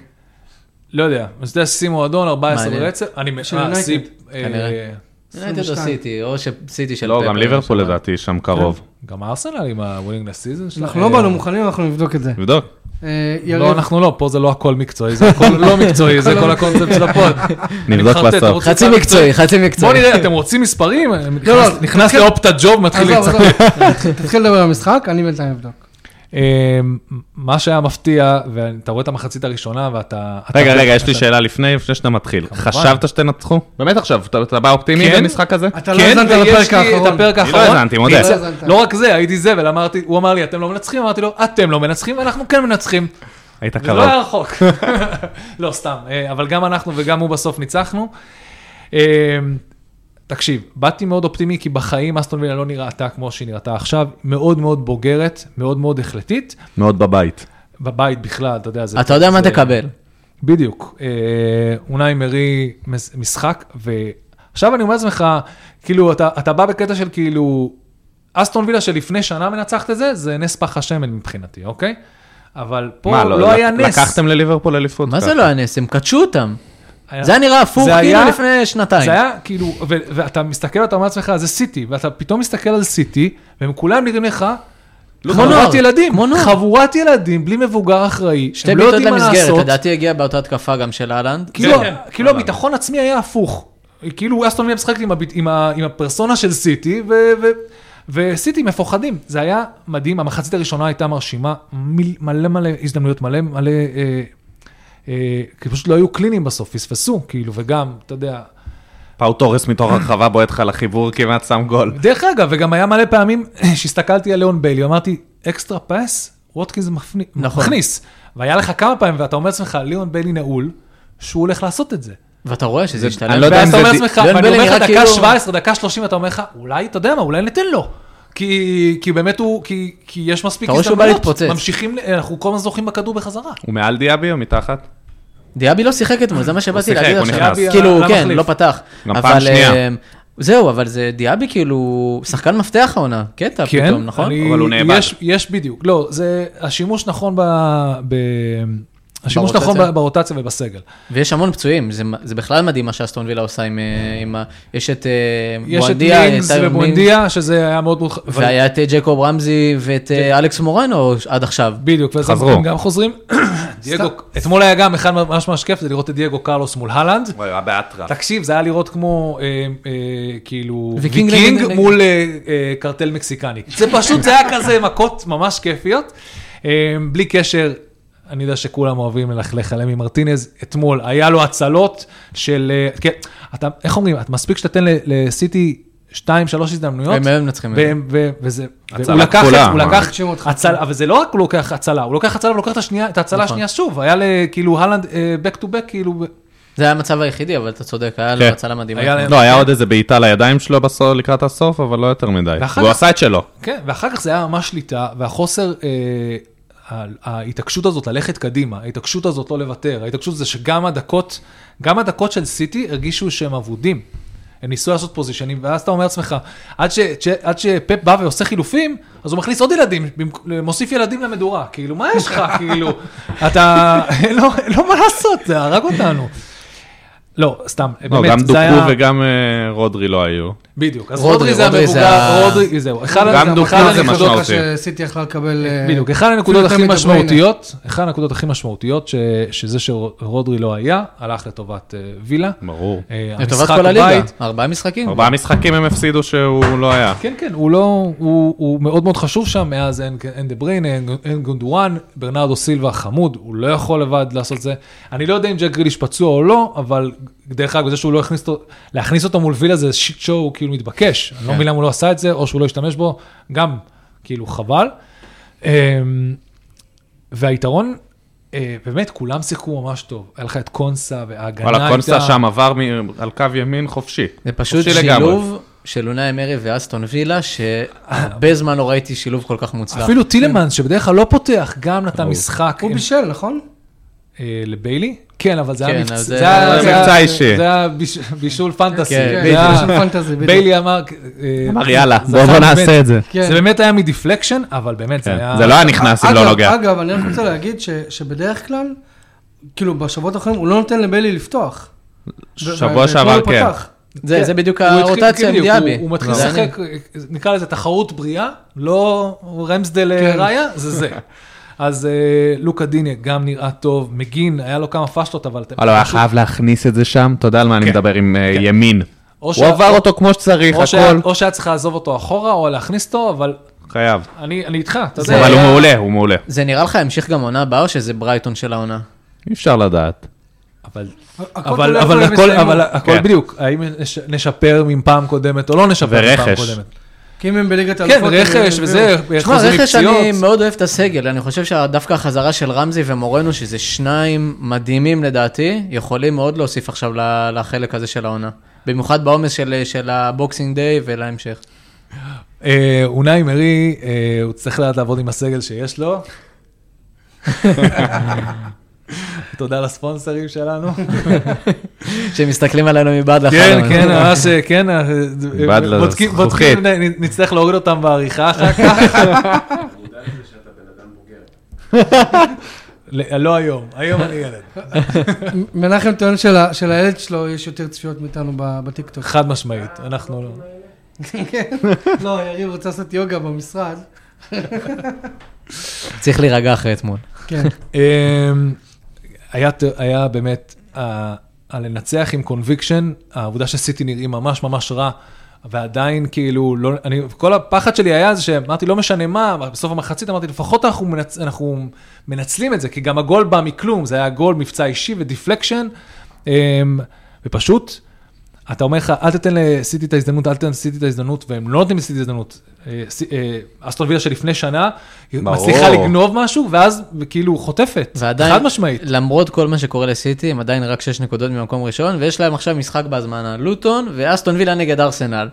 B: לא יודע, אז זה שיא מועדון, 14
D: מעניין.
B: ברצף. אני מ-
A: של
B: אה,
A: יונייטד,
B: שיא, אה,
D: כנראה. יונייטד או
A: 22.
D: סיטי, או ש- סיטי של
C: לא,
D: פפר.
C: גם ליברפול לדעתי שם קרוב.
B: גם ארסנל עם הווינג לסיזון שלהם.
A: אנחנו לא באנו מוכנים, אנחנו נבדוק את זה.
C: תבדוק.
A: אה,
B: אה, לא,
A: יריב,
B: אנחנו לא, פה זה לא הכל מקצועי, זה הכל לא מקצועי, זה
A: הכל
B: כל
A: לא
B: הקונספט של הפוד. אני
C: נבדוק
B: מחרטט,
C: בסוף.
B: אתה רוצה
D: חצי
B: צעד
D: מקצועי, חצי
B: בוא
D: מקצועי.
B: נראה, אתם רוצים מספרים?
A: לא,
B: נכנס- נכנס
A: תתחיל-
B: לאופטה ג'וב, מתחיל
A: עזוב,
B: לצעוק.
A: עזוב, תתחיל לדבר על המשחק, אני בינתיים אבדוק.
B: אמ, מה שהיה מפתיע, ואתה רואה את המחצית הראשונה ואתה...
C: רגע,
B: אתה-
C: רגע, יש לי
B: אתה-
C: שאלה לפני, לפני שאתה מתחיל. חשבת שתנצחו? באמת עכשיו, אתה- אתה בא אופטימי
B: כן.
C: במשחק הזה?
A: אתה לא
B: כן,
A: האזנת לפרק
B: ויש לי את
A: האחרון.
B: הפרק
C: אני
B: האחרון.
C: לא האזנתי, מודה.
A: לא האזנת.
B: לא רק זה, הייתי זבל, אמרתי, הוא אמר לי, אתם לא מנצחים, אמרתי לו, אתם לא מנצחים, אנחנו כן מנצחים.
C: היית
B: זה לא
C: קרוב.
B: היה רחוק. לא, סתם. אה, אבל גם אנחנו וגם הוא בסוף ניצחנו. אה, תקשיב, באתי מאוד אופטימי, כי בחיים אסטון וילה לא נראתה כמו שהיא נראתה עכשיו. מאוד מאוד בוגרת, מאוד מאוד החלטית.
C: מאוד בבית.
B: בבית בכלל, אתה יודע, זה...
D: אתה יודע מה
B: זה-
D: תקבל.
B: בדיוק. אה, אונאי מרי מס- משחק, ועכשיו אני אומר לעצמך, כאילו, אתה, אתה בא בקטע של כאילו, אסטון וילה שלפני שנה מנצחת את זה, זה נס פח השמן מבחינתי, אוקיי? אבל פה
C: מה,
B: לא, היה נס.
C: לקחתם לליברפול אליפות?
D: מה זה
C: ככה?
D: לא הנס? הם קדשו אותם.
B: היה-
D: זה היה נראה הפוך
B: זה
D: כאילו
B: היה-
D: לפני שנתיים.
B: זה היה כאילו, ו- ואתה מסתכל, אתה אומר לעצמך, זה סיטי, ואתה פתאום מסתכל על סיטי, והם כולם נראים לך...
D: כמו
B: חבורת
D: לא נוער,
B: ילדים,
D: כמו נוער.
B: חבורת ילדים, בלי מבוגר אחראי,
D: שתי
B: הם לא
D: בעיטות
B: יודעים מה
D: למסגרת,
B: לעשות.
D: לדעתי הגיע באותה התקפה גם של אהלנד.
B: כאילו,
C: כן.
B: כאילו הביטחון עצמי היה הפוך. כאילו אסטון וילה משחקת עם, הביט- עם, ה- עם הפרסונה של סיטי, ו, ו, וסיטי מפוחדים. זה היה מדהים, המחצית הראשונה הייתה מרשימה, מיל, מלא מלא הזדמנויות, מלא מלא... אה, אה, כי פשוט לא היו קליניים בסוף, פספסו, כאילו, וגם, אתה יודע...
C: פאו תורס מתוך הרחבה בועט לך לחיבור כמעט שם גול.
B: דרך אגב, וגם היה מלא פעמים שהסתכלתי על ליאון ביילי, אמרתי, אקסטרה פס, ווטקינס מפני-
D: נכון.
B: מכניס. והיה לך כמה פעמים, ואתה אומר לעצמך, ליאון ביילי נעול, שהוא הולך לעשות את זה.
D: ואתה רואה שזה השתלם.
C: אני לא יודע
B: ואז
C: אם
B: אתה
C: זה
B: אומר
C: די-
B: לעצמך,
D: ליאון
B: ואני אומר
D: בלר
B: לך
D: נראה
B: דקה
D: כאילו-
B: 17, דקה 30, אתה אומר לך, אולי, אתה יודע מה, אולי ניתן לו. כי, כי באמת הוא, כי, כי יש מספיק
D: אתה רואה שהוא בא להתפוצץ.
B: ממשיכים, אנחנו כל הזמן זוכים בכדור בחזרה.
C: הוא מעל דיאבי או מתחת?
D: דיאבי לא שיחק אתמול, זה מה שבאתי
C: שיחק,
D: להגיד
C: הוא
D: עכשיו.
B: נכנס.
D: כאילו,
B: דיאבי
D: כן,
B: המחליף.
D: לא פתח.
C: גם פעם
D: אבל,
C: שנייה.
D: אה, זהו, אבל זה דיאבי כאילו, שחקן מפתח העונה, קטע פתאום, נכון?
B: כן, אני-
C: אבל הוא נאבד.
B: יש, יש בדיוק, לא, זה השימוש נכון ב... ב... השימוש
D: ברוטציה?
B: נכון ב- ברוטציה ובסגל.
D: ויש המון פצועים, זה- זה בכלל מדהים מה שאסטון וילה עושה עם אה, עם ה... יש את אה,
B: יש את
D: בואנדיה,
B: לינגס
D: טיירון
B: ובונדיה, שזה היה מאוד מאוד... ח- אבל- כן.
D: והיה את אה, ג'קוב רמזי ואת אה, אלכס מורנו עד עכשיו.
B: בדיוק, ואז
C: חזרו.
B: הם גם חוזרים. דייגו, אתמול היה גם אחד ממש ממש כיף, זה לראות את דייגו קרלוס מול הלנד.
C: הוא היה באטרף.
B: תקשיב, זה היה לראות כמו, אה, אה, כאילו,
D: ויקינג
B: ויקינג
D: נגד-
B: מול אה, אה, קרטל מקסיקני. זה פשוט, זה היה כזה מכות ממש כיפיות. אה, בלי קשר, אני יודע שכולם אוהבים ללכלך עליהם עם מרטינז, אתמול היה לו הצלות של, אה, כן, אתה, איך אומרים, את מספיק שתתן ל- לסיטי... שתיים, שלוש הזדמנויות.
D: הם היו מנצחים.
B: והם- ו- וזה,
C: הצלה
B: והוא לקח,
C: כפולה,
B: את- הוא
C: מה?
B: לקח,
A: תקשיב אותך.
B: הצלה, אבל זה לא רק הוא לוקח הצלה, הוא לוקח הצלה ולוקח את השנייה- את ההצלה
D: נכון.
B: השנייה שוב, היה לכאילו הלנד, back to back, כאילו,
D: זה היה המצב היחידי, אבל אתה צודק, היה לו
C: כן.
D: הצלה מדהימה.
B: היה להם-
C: לא, היה עוד איזה בעיטה לידיים שלו בסוף- לקראת הסוף, אבל לא יותר מדי.
B: ואחר
C: והוא
B: כך-
C: עשה את שלו.
B: כן, ואחר כך זה היה ממש שליטה, והחוסר, אה, ה- ההתעקשות הזאת ללכת קדימה, ההתעקשות הזאת לא לוותר, ההתעקשות זה שגם הדקות, גם הדקות של סיטי הרגישו שהם אבודים. הם ניסו לעשות פוזיישנים, ואז אתה אומר לעצמך, עד, ש, ש, עד שפפ בא ועושה חילופים, אז הוא מכניס עוד ילדים, במק- מוסיף ילדים למדורה. כאילו, מה יש לך? כאילו, אתה, אין לו, אין לו מה לעשות, זה הרג אותנו. לא, סתם,
C: לא,
B: באמת,
C: גם
B: זה היה...
C: דוקו וגם אה, רודרי לא היו.
B: בדיוק. אז
D: רודרי,
B: רודרי זה
D: רודרי זה
B: המבוגר,
D: ה-
B: רודרי, זהו. אחד
C: גם
B: הנ-
C: דוקנו
B: אחד
C: זה
B: הנקודות-
C: משמעותי.
A: שסיטי יכלה לקבל... אה,
B: בדיוק, אחד
A: אפילו
B: הנקודות
A: יותר
B: הכי
A: מדה בריינה.
B: משמעותיות, אחד הנקודות הכי משמעותיות, ש- שזה שרודרי לא היה, הלך לטובת אה, וילה.
C: ברור.
B: אה,
D: לטובת
B: המשחק
D: כל הליגה,
B: בית-
D: ארבעה משחקים.
C: ארבעה משחקים הם הפסידו שהוא לא היה.
B: כן, כן, הוא לא, הוא, הוא מאוד מאוד חשוב שם, מאז אין, אין דה בריינה, אין, אין גונדואן, ברנרדו סילבה חמוד, הוא לא יכול לבד לעשות זה. אני לא יודע אם ג'ק גריליש פצוע או לא, אבל דרך אגב, זה שהוא לא הכניס אותו, להכניס אותו מול וילה זה שיט שואו, הוא כאילו מתבקש.
C: כן.
B: אני לא מבין למה הוא לא עשה את זה, או שהוא לא השתמש בו, גם כאילו חבל. אמ, והיתרון, אה, באמת, כולם שיחקו ממש טוב. היה לך את קונסה, וההגנה
C: וואלה, קונסה שם עבר מ- על קו ימין חופשי.
D: זה פשוט
C: חופשי לגמרי.
D: שילוב של אונאי אמרי ואסטון וילה, שהרבה זמן לא ראיתי שילוב כל כך מוצלח.
B: אה, אפילו טילמנס, שבדרך כלל לא פותח, גם נתן
C: כן. הוא-
B: משחק.
A: הוא
B: עם-
A: בישל, נכון?
B: אה, לביילי? כן, אבל זה
D: כן,
B: היה
D: אז
B: מבצע.
D: זה-
B: היה-
C: זה מבצע
B: היה-
C: אישי.
B: זה היה ביש- בישול פנטסי.
D: כן,
B: זה
A: בדיוק.
B: היה-
A: בישול פנטסי, בדיוק.
B: ביילי אמר... אה,
C: אמר, יאללה,
B: זה
C: בוא-
B: היה
C: בוא
B: באמת-
C: נעשה את זה.
A: כן.
B: זה באמת היה מדיפלקשן, אבל באמת זה
C: כן.
B: היה...
C: זה לא היה נכנס אם
A: אה, אגב-
C: לא נוגע.
A: אגב, אני רק רוצה להגיד ש- שבדרך כלל, כאילו בשבועות האחרונים, הוא לא נותן לביילי לפתוח. ו-
C: שבוע
A: ו-
C: שעבר
A: ואתמול
C: כן.
A: הוא פתח.
D: זה זה בדיוק
B: הוא התחיל- כן,
D: הרוטציה לא. עם
B: בדיוק,
D: דיאבי.
B: הוא- הוא מתחיל
D: זה
B: לשחק, אה, נקרא לזה תחרות בריאה, לא רמסדל
A: כן.
B: ראיה, זה זה. אז אה, לוקה דיניה גם נראה טוב, מגין, היה לו כמה פשטות, אבל... אתם-
C: וואלה, הוא היה חייב להכניס את זה שם, אתה יודע על מה אני
B: כן.
C: מדבר עם אה,
B: כן.
C: ימין.
B: או
C: הוא
B: שה-
C: עבר אותו כמו שצריך,
B: או שהיה-
C: הכל.
B: או שהיה צריך לעזוב אותו אחורה, או להכניס אותו, אבל
C: חייב.
B: אני אני איתך, אתה יודע.
C: אבל הוא
D: היה-
C: מעולה, הוא מעולה.
D: זה נראה לך המשך גם עונה הבאה, או שזה ברייטון של העונה?
C: אי אפשר לדעת.
B: אבל,
A: הכל
B: אבל,
A: תלוי
B: אבל
A: איפה הם
B: הכל,
A: יסיימו.
B: אבל הכל
C: כן.
B: בדיוק, האם נש- נשפר מפעם קודמת או לא נשפר מפעם
C: ורכש.
B: קודמת.
A: כי אם הם בליגת
B: כן,
A: האלופות, הם-
B: רכש
A: הם-
B: וזה, אה,
D: תשמע,
B: חוזים
D: רכש
B: מפציעות.
D: אני מאוד אוהב את הסגל, אני חושב שדווקא החזרה של רמזי ומורנו, שזה שניים מדהימים לדעתי, יכולים מאוד להוסיף עכשיו ל- לחלק הזה של העונה. במיוחד בעומס של, של הבוקסינג דיי ולהמשך.
B: אה, אונאי מרי, אה, הוא צריך לדעת לעבוד עם הסגל שיש לו. תודה לספונסרים שלנו.
D: שמסתכלים עלינו מבעד לאחר.
B: כן,
D: העונה.
B: כן, ממש, אה, כן, אה,
C: בעד
B: אה, בודקים, בודקים,
C: לזכוכית.
B: נ- נצטרך להוריד אותם בעריכה אחר כך. לא, לא היום, היום אני ילד.
A: מ- מנחם טוען של ה- של הילד שלו יש יותר צפיות מאיתנו ב- בטיקטוק.
B: חד משמעית, אנחנו לא.
A: כן. לא, יריב רוצה לעשות יוגה במשרד.
D: צריך להירגע אחרי אתמול.
A: כן.
B: אמ, היה, ת- היה באמת, ה- הלנצח עם קונביקשן, העובדה שסיטי נראים ממש ממש רע, ועדיין כאילו, לא, אני, כל הפחד שלי היה זה שאמרתי, לא משנה מה, בסוף המחצית אמרתי, לפחות אנחנו, מנצ, אנחנו מנצלים את זה, כי גם הגול בא מכלום, זה היה גול מבצע אישי ודיפלקשן, אמ, ופשוט, אתה אומר לך, אל תתן לסיטי את ההזדמנות, אל תתן לסיטי את ההזדמנות, והם לא נותנים לסיטי את ההזדמנות. אה, סי- אה, אסטון וילה שלפני שנה, היא
C: ברור.
B: מצליחה לגנוב משהו, ואז כאילו חוטפת.
D: ועדיין,
B: חד משמעית.
D: למרות כל מה שקורה לסיטי, הם עדיין רק 6 נקודות ממקום ראשון, ויש להם עכשיו משחק בהזמנה, לוטון ואסטון וילה נגד ארסנל.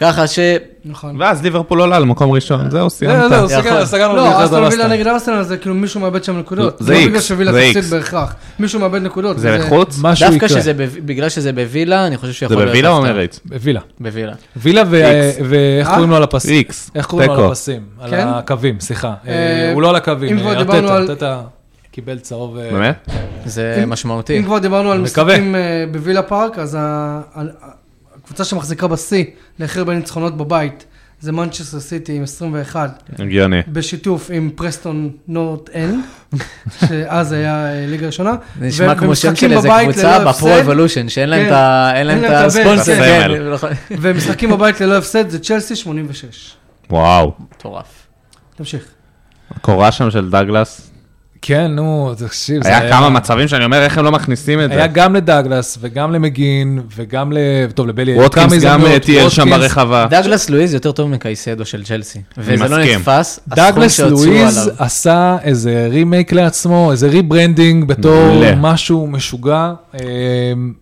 D: ככה ש...
A: נכון.
C: ואז ליברפול עולה למקום ראשון, זהו,
B: זהו,
C: סיימת.
B: זהו,
D: יכול.
B: לא, סגרנו, סגרנו.
A: לא,
B: את
A: אסטון
B: הדבר
A: וילה
B: הסתם.
A: נגד ארסנל זה כאילו מישהו מאבד שם נקודות.
C: זה
A: לא
C: איקס,
A: בגלל שווילה
C: זה
A: תפסיד
C: איקס.
A: בהכרח. מישהו מאבד נקודות.
C: זה לחוץ?
B: משהו
D: דווקא
B: יקרה.
D: שזה בב- בגלל שזה בווילה, אני חושב
C: זה
D: שיכול להיות...
B: כן.
C: בווילה או
D: הפתעה.
C: מריץ?
B: וילה.
D: בווילה.
B: וילה ו-
C: איקס.
B: ואיך
A: אה?
B: קוראים לו על הפסים?
C: איקס,
B: איך קוראים לו על
C: תיקו.
B: הפסים? על
A: כן?
B: הקווים, סליחה. אה,
A: אה,
B: הוא לא על הקווים,
A: אם כבר
B: אה,
A: דיברנו
B: ארטטה,
A: על-
B: ארטטה קיבל צהוב. אה,
C: באמת?
D: זה
A: אם-
D: משמעותי.
A: אם כבר דיברנו על
B: מקווה.
A: משחקים אה, בווילה פארק, אז ה- על- ה- הקבוצה שמחזיקה בשיא להכיר בניצחונות בבית, זה מנצ'סטר סיטי עם 21,
B: כן.
C: הגיוני.
A: כן. בשיתוף עם פרסטון נורט אנד, שאז היה אה, ליגה ראשונה.
D: זה נשמע
A: והם
D: כמו שם
A: משחקים
D: של איזה
A: בבית
D: קבוצה
A: ללא
D: בפרו
A: הפסד.
D: אבולושן, שאין להם
A: כן.
D: את ה- אין להם את
A: הבן,
D: הספונסר.
A: כן.
D: כן,
C: הסמל.
D: נכון.
A: ומשחקים בבית ללא הפסד זה צ'לסי 86.
C: וואו.
D: מטורף.
A: תמשיך.
C: הקורה שם של דגלס.
B: כן, נו, תקשיב. זה
C: היה כמה מצבים שאני אומר, איך הם לא מכניסים את זה?
B: היה גם לדאגלס וגם למגין וגם ל... טוב, לבלי... היו
C: ווטקינס
B: כמה
C: גם
B: הזדמנויות,
C: טייל שם
B: ווטקינס.
C: ברחבה.
D: דאגלס לואיז יותר טוב מקייסדו של צ'לסי. וזה לא
C: אה. מסכים.
D: נתפס, הסכום
B: דאגלס
D: שהוציאו
B: לואיז
D: עליו.
B: עשה איזה רימייק לעצמו, איזה ריברנדינג בתור
C: מעולה.
B: משהו משוגע, אה,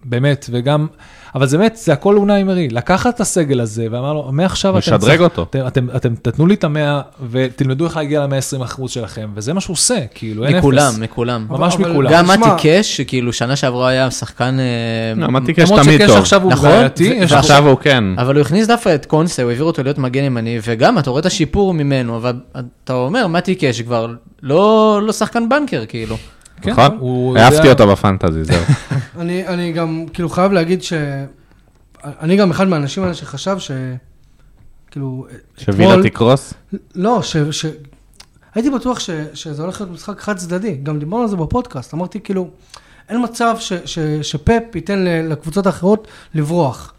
B: באמת, וגם, אבל זה באמת, זה הכל אונאי מרי, לקח את הסגל הזה ואמר לו, מעכשיו אתם,
C: משדרג אותו.
B: אתם, אתם, אתם תתנו לי את המאה ותלמדו איך להגיע למאה 20 אחוז שלכם, וזה מה שהוא עושה, כאילו, אין אפס.
D: מכולם, מכולם.
B: ממש
A: אבל-
B: מכולם.
D: גם
A: תשמע,
D: מתי קש, שכאילו שנה שעברה היה שחקן... אה,
C: לא, מתי קש
B: למרות
C: תמיד
B: שקש
C: טוב.
B: עכשיו הוא
D: נכון,
B: בעייתי,
D: ו-
B: יש
C: ועכשיו הוא כן.
D: אבל הוא הכניס דווקא את קונסה, הוא העביר אותו להיות מגן ימני, וגם אתה רואה את השיפור ממנו, אבל אתה אומר, מתי קש כבר לא לא שחקן בנקר, כאילו.
B: כן,
C: נכון?
B: הוא יודע-
C: העפתי אותו בפנטזי, זהו.
A: אני, אני גם כאילו חייב להגיד ש... אני גם אחד מהאנשים האלה שחשב ש... כאילו,
C: שווילה תקרוס?
A: לא, ש... ש... הייתי בטוח ש... שזה הולך להיות משחק חד צדדי, גם דיברנו על זה בפודקאסט, אמרתי כאילו, אין מצב ש... ש... שפאפ ייתן ל- לקבוצות האחרות לברוח.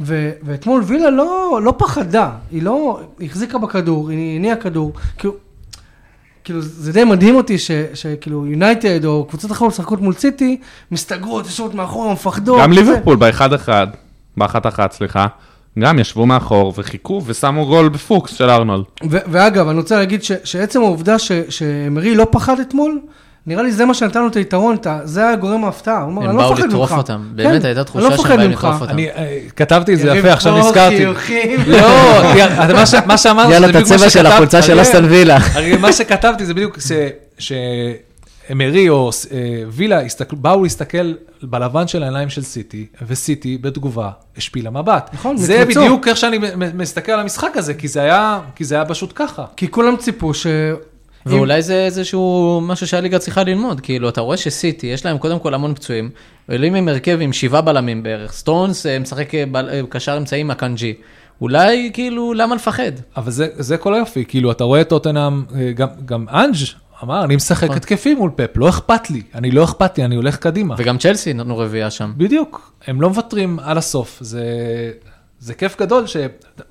A: ו... ואתמול וילה לא, לא פחדה, היא לא היא החזיקה בכדור, היא הניעה כדור, כאילו, כאילו זה די מדהים אותי ש... שכאילו יונייטד או קבוצות אחרות משחקות מול סיטי, מסתגרות, יושבות מאחורה, מפחדות.
C: גם
B: אוקיי.
A: וזה.
C: ליברפול באחד-אחד, באחת-אחת, סליחה, גם ישבו מאחור וחיכו ושמו גול בפוקס של ארנולד.
A: ו- ואגב, אני רוצה להגיד ש- שעצם העובדה ש- שאמרי לא פחד אתמול, נראה לי זה מה שנתן לו את היתרון, את ה- זה היה גורם ההפתעה, הוא אמר,
D: הם
A: אני לא
D: באו
A: מפחד ממך.
D: לטרוף אותם, באמת
A: כן,
D: הייתה
A: אני
D: תחושה
A: לא
D: שהם
A: מפחד
D: באים
A: ממך.
D: לטרוף אותם.
B: אני אה, כתבתי את זה
A: יריב
B: יפה, עכשיו
A: פה,
B: נזכרתי.
A: חיוכים.
B: לא, אתה- מה ש- מה שאמרת,
D: יאללה,
B: אה, זה
D: את
B: בדיוק מה
D: הצבע של
B: שכתבת, כן.
D: החולצה של
B: אריאל.
D: אסטון וילה.
B: הרי מה שכתבתי זה בדיוק ש... אמרי או אה, וילה הסתכל- באו להסתכל בלבן של העיניים של סיטי, וסיטי בתגובה השפילה מבט.
A: נכון,
B: זה
A: נקמצו.
B: בדיוק איך שאני מ- מ- מסתכל על המשחק הזה, כי זה היה, כי זה היה פשוט ככה.
A: כי כולם ציפו ש...
D: ואולי זה איזשהו משהו שהליגה צריכה ללמוד, כאילו, אתה רואה שסיטי, יש להם קודם כל המון פצועים, עולים עם הרכב עם שבעה בלמים בערך, סטונס אה, משחק אה, בל- אה, קשר אמצעי עם הקנג'י. אולי, כאילו, למה לפחד?
B: אבל זה, זה כל היופי, כאילו, אתה רואה את טוטנאם, אה, גם, גם אנג' אמר, אני משחק התקפי מול פפ, לא אכפת לי, אני לא אכפת לי, אני הולך קדימה.
D: וגם צ'לסי נתנו רביעייה שם.
B: בדיוק, הם לא מוותרים על הסוף, זה, זה כיף גדול, ש...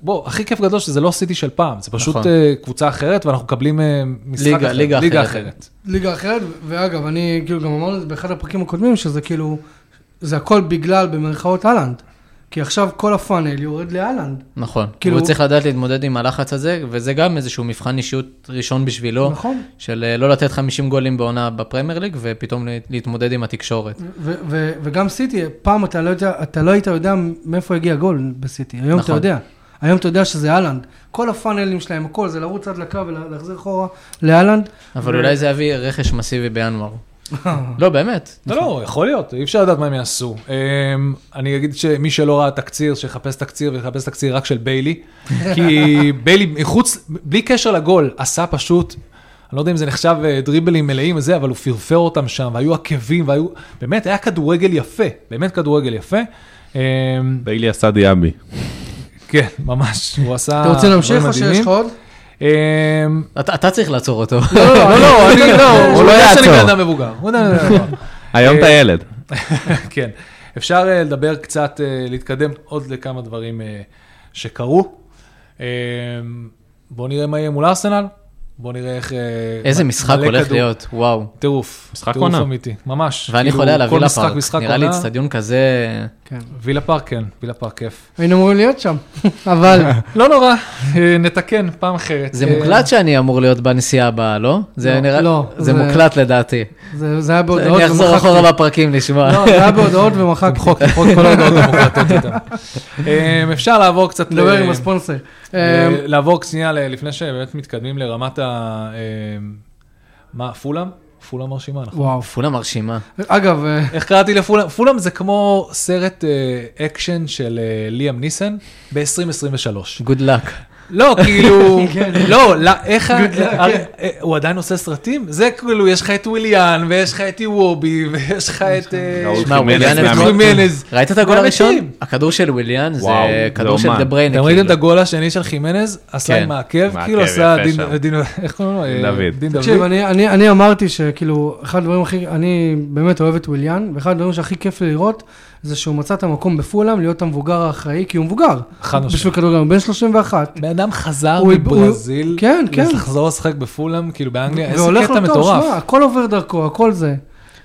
B: בוא, הכי כיף גדול שזה לא סיטי של פעם, זה פשוט
D: נכון.
B: נכון. קבוצה אחרת ואנחנו מקבלים אה, משחק
D: ליגה-
B: אחר,
D: ליגה אחרת.
A: ליגה אחרת, ואגב, אני כאילו גם אמרנו את זה באחד הפרקים הקודמים, שזה כאילו, זה הכל בגלל במרכאות אהלנד. כי עכשיו כל הפאנל יורד לאהלנד.
D: נכון.
A: כאילו-
D: כאילו... הוא צריך לדעת להתמודד עם הלחץ הזה, וזה גם איזשהו מבחן אישיות ראשון בשבילו,
A: נכון.
D: של אה, לא לתת 50 גולים בעונה בפרמייר ליג, ופתאום לה- להתמודד עם התקשורת.
A: ו- ו- וגם סיטי, פעם אתה לא, יודע, אתה לא היית יודע מאיפה הגיע גול בסיטי, היום אתה
D: נכון.
A: יודע. היום אתה יודע שזה אהלנד. כל הפאנלים שלהם, הכל, זה לרוץ עד לקו ולהחזיר אחורה לאהלנד.
D: אבל אולי זה יביא רכש מסיבי בינואר. לא, באמת.
B: לא, לא, יכול להיות, אי אפשר לדעת מה הם יעשו. אמ, אני אגיד שמי שלא ראה תקציר, שיחפש תקציר ויחפש תקציר רק של ביילי, כי ביילי מחוץ, בלי קשר לגול, עשה פשוט, אני לא יודע אם זה נחשב אה, דריבלים מלאים וזה, אבל הוא פרפר אותם שם, והיו עקבים, והיו, באמת, היה כדורגל יפה, באמת כדורגל יפה. אמ,
C: ביילי עשה דיאבי.
B: כן, ממש, הוא עשה...
A: אתה רוצה להמשיך
B: דברים
A: או שיש
B: מדהימים.
A: לך עוד?
B: אמ,
D: אתה אתה צריך לעצור אותו.
B: לא, לא, אני לא, אה, הוא
C: לא
B: יודע שאני
C: יעצור.
B: בן אדם מבוגר. הוא יודע-
C: היום אתה ילד.
B: כן. אפשר אה, לדבר קצת, אה, להתקדם עוד לכמה דברים אה, שקרו. אה, בואו נראה מה יהיה מול ארסנל. בואו נראה איך... אה,
D: איזה
B: מ-
D: משחק
B: מלא
D: הולך
B: כדור.
D: להיות, וואו.
B: טירוף.
C: משחק
B: טירוף
C: עונה.
B: אמיתי, ממש.
D: ואני
B: כאילו,
D: חולה על הווילה
B: כל משחק,
D: פארק,
B: משחק
D: נראה לי
B: עונה.
D: אצטדיון כזה...
A: כן.
B: וילה פארק, כן, וילה פארק כיף.
A: היינו אמורים להיות שם, אבל...
B: לא נורא, אה, נתקן פעם אחרת.
D: זה
B: אה,
D: מוקלט שאני אמור להיות בנסיעה הבאה, לא? זה
A: לא,
D: נראה...
A: לא,
D: זה
A: זה-
D: מוקלט לדעתי.
A: זה זה היה בהודעות
D: אני אחזור
A: ומחקתי.
D: אחורה אוקיי. בפרקים לשמוע.
A: לא, זה היה בהודעות ומחקתי.
B: למחוק, למחוק כל ההודעות המוקלטות איתם. אה, אפשר לעבור קצת...
A: נדבר
B: ל-
A: עם הספונסר.
B: אה,
A: אמ,
B: לעבור שנייה ל- לפני שבאמת מתקדמים לרמת ה... אה, מה, פולאם? פולאם מרשימה, נכון?
A: וואו.
D: פולה מרשימה.
A: אגב, אה,
B: איך קראתי לפולאם? פולאם זה כמו סרט אה, אקשן של אה, ליאם ניסן ב-2023.
D: גוד לק.
B: לא, כאילו, לא, לא, איך, ה-
A: Good luck,
B: הרי-
A: כן.
B: אה, הוא עדיין עושה סטרטים? זה כאילו, יש לך את וויליאן, ויש לך את איוובי, ויש לך את... אה,
C: ראול
B: שמע,
D: שמע,
C: חימנז
D: וויליאן
C: מהמת.
D: הביא-
B: חימנז.
D: ראית את הגול
B: גם
D: הראשון?
B: מתים.
D: הכדור של וויליאן זה
C: וואו, זה
D: כדור של
C: אומן.
D: דה בריינה.
B: אתם ראיתם את
D: כאילו.
B: הגול השני של חימנז? עשה
D: כן.
B: עם העקב,
C: כן, מעקב,
B: כאילו עשה
C: יפה
B: דין,
C: שם.
B: דין- איך קוראים לו?
C: דין
B: אה,
C: דוד.
B: דין
A: תקשיב,
B: דוד.
A: אני, אני, אני אמרתי שכאילו, אחד הדברים הכי, אני באמת אוהב את וויליאן, ואחד הדברים שהכי כיף לי לראות, זה שהוא מצא את המקום בפולאם להיות המבוגר האחראי, כי הוא מבוגר.
B: חד משמעית.
A: בשביל כדורגל, הוא בן 31.
B: בן אדם חזר
A: הוא-
B: מברזיל,
A: הוא- כן, כן.
B: לחזור לשחק בפולאם, כאילו באנגליה, איזה
A: והולך
B: קטע
A: לו טוב,
B: מטורף.
A: שמע, הכל עובר דרכו, הכל זה.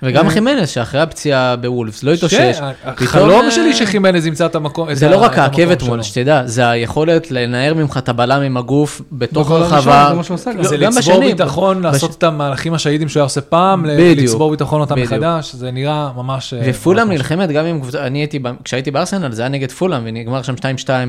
D: וגם
B: אה.
D: חימנס, שאחרי הפציעה בוולפס, לא התאושש.
B: כן,
D: פתאום,
B: החלום
D: אה,
B: שלי שחימנז ימצא את המקום.
D: זה
B: את
D: לא
B: ה-
D: רק
B: את המקום
D: העקב אתמול,
B: שלו.
D: שתדע, זה היכולת לנער ממך את הבלם עם הגוף בתוך
A: בגול הראשון,
D: הרחבה.
A: זה מה שהוא עשה גם.
B: זה
D: לא, גם
B: לצבור
D: בשני,
B: ביטחון,
D: בש-
B: נכון, לעשות את המהלכים השהידים שהוא היה עושה פעם, ל-
D: בדיוק.
B: לצבור ביטחון אותם
D: בדיוק.
B: מחדש, זה נראה ממש... אה,
D: ופולאם
B: ממש-
D: נלחמת גם עם קבוצה, אני הייתי, ב- כשהייתי בארסנל זה היה נגד פולאם ונגמר שם 2-2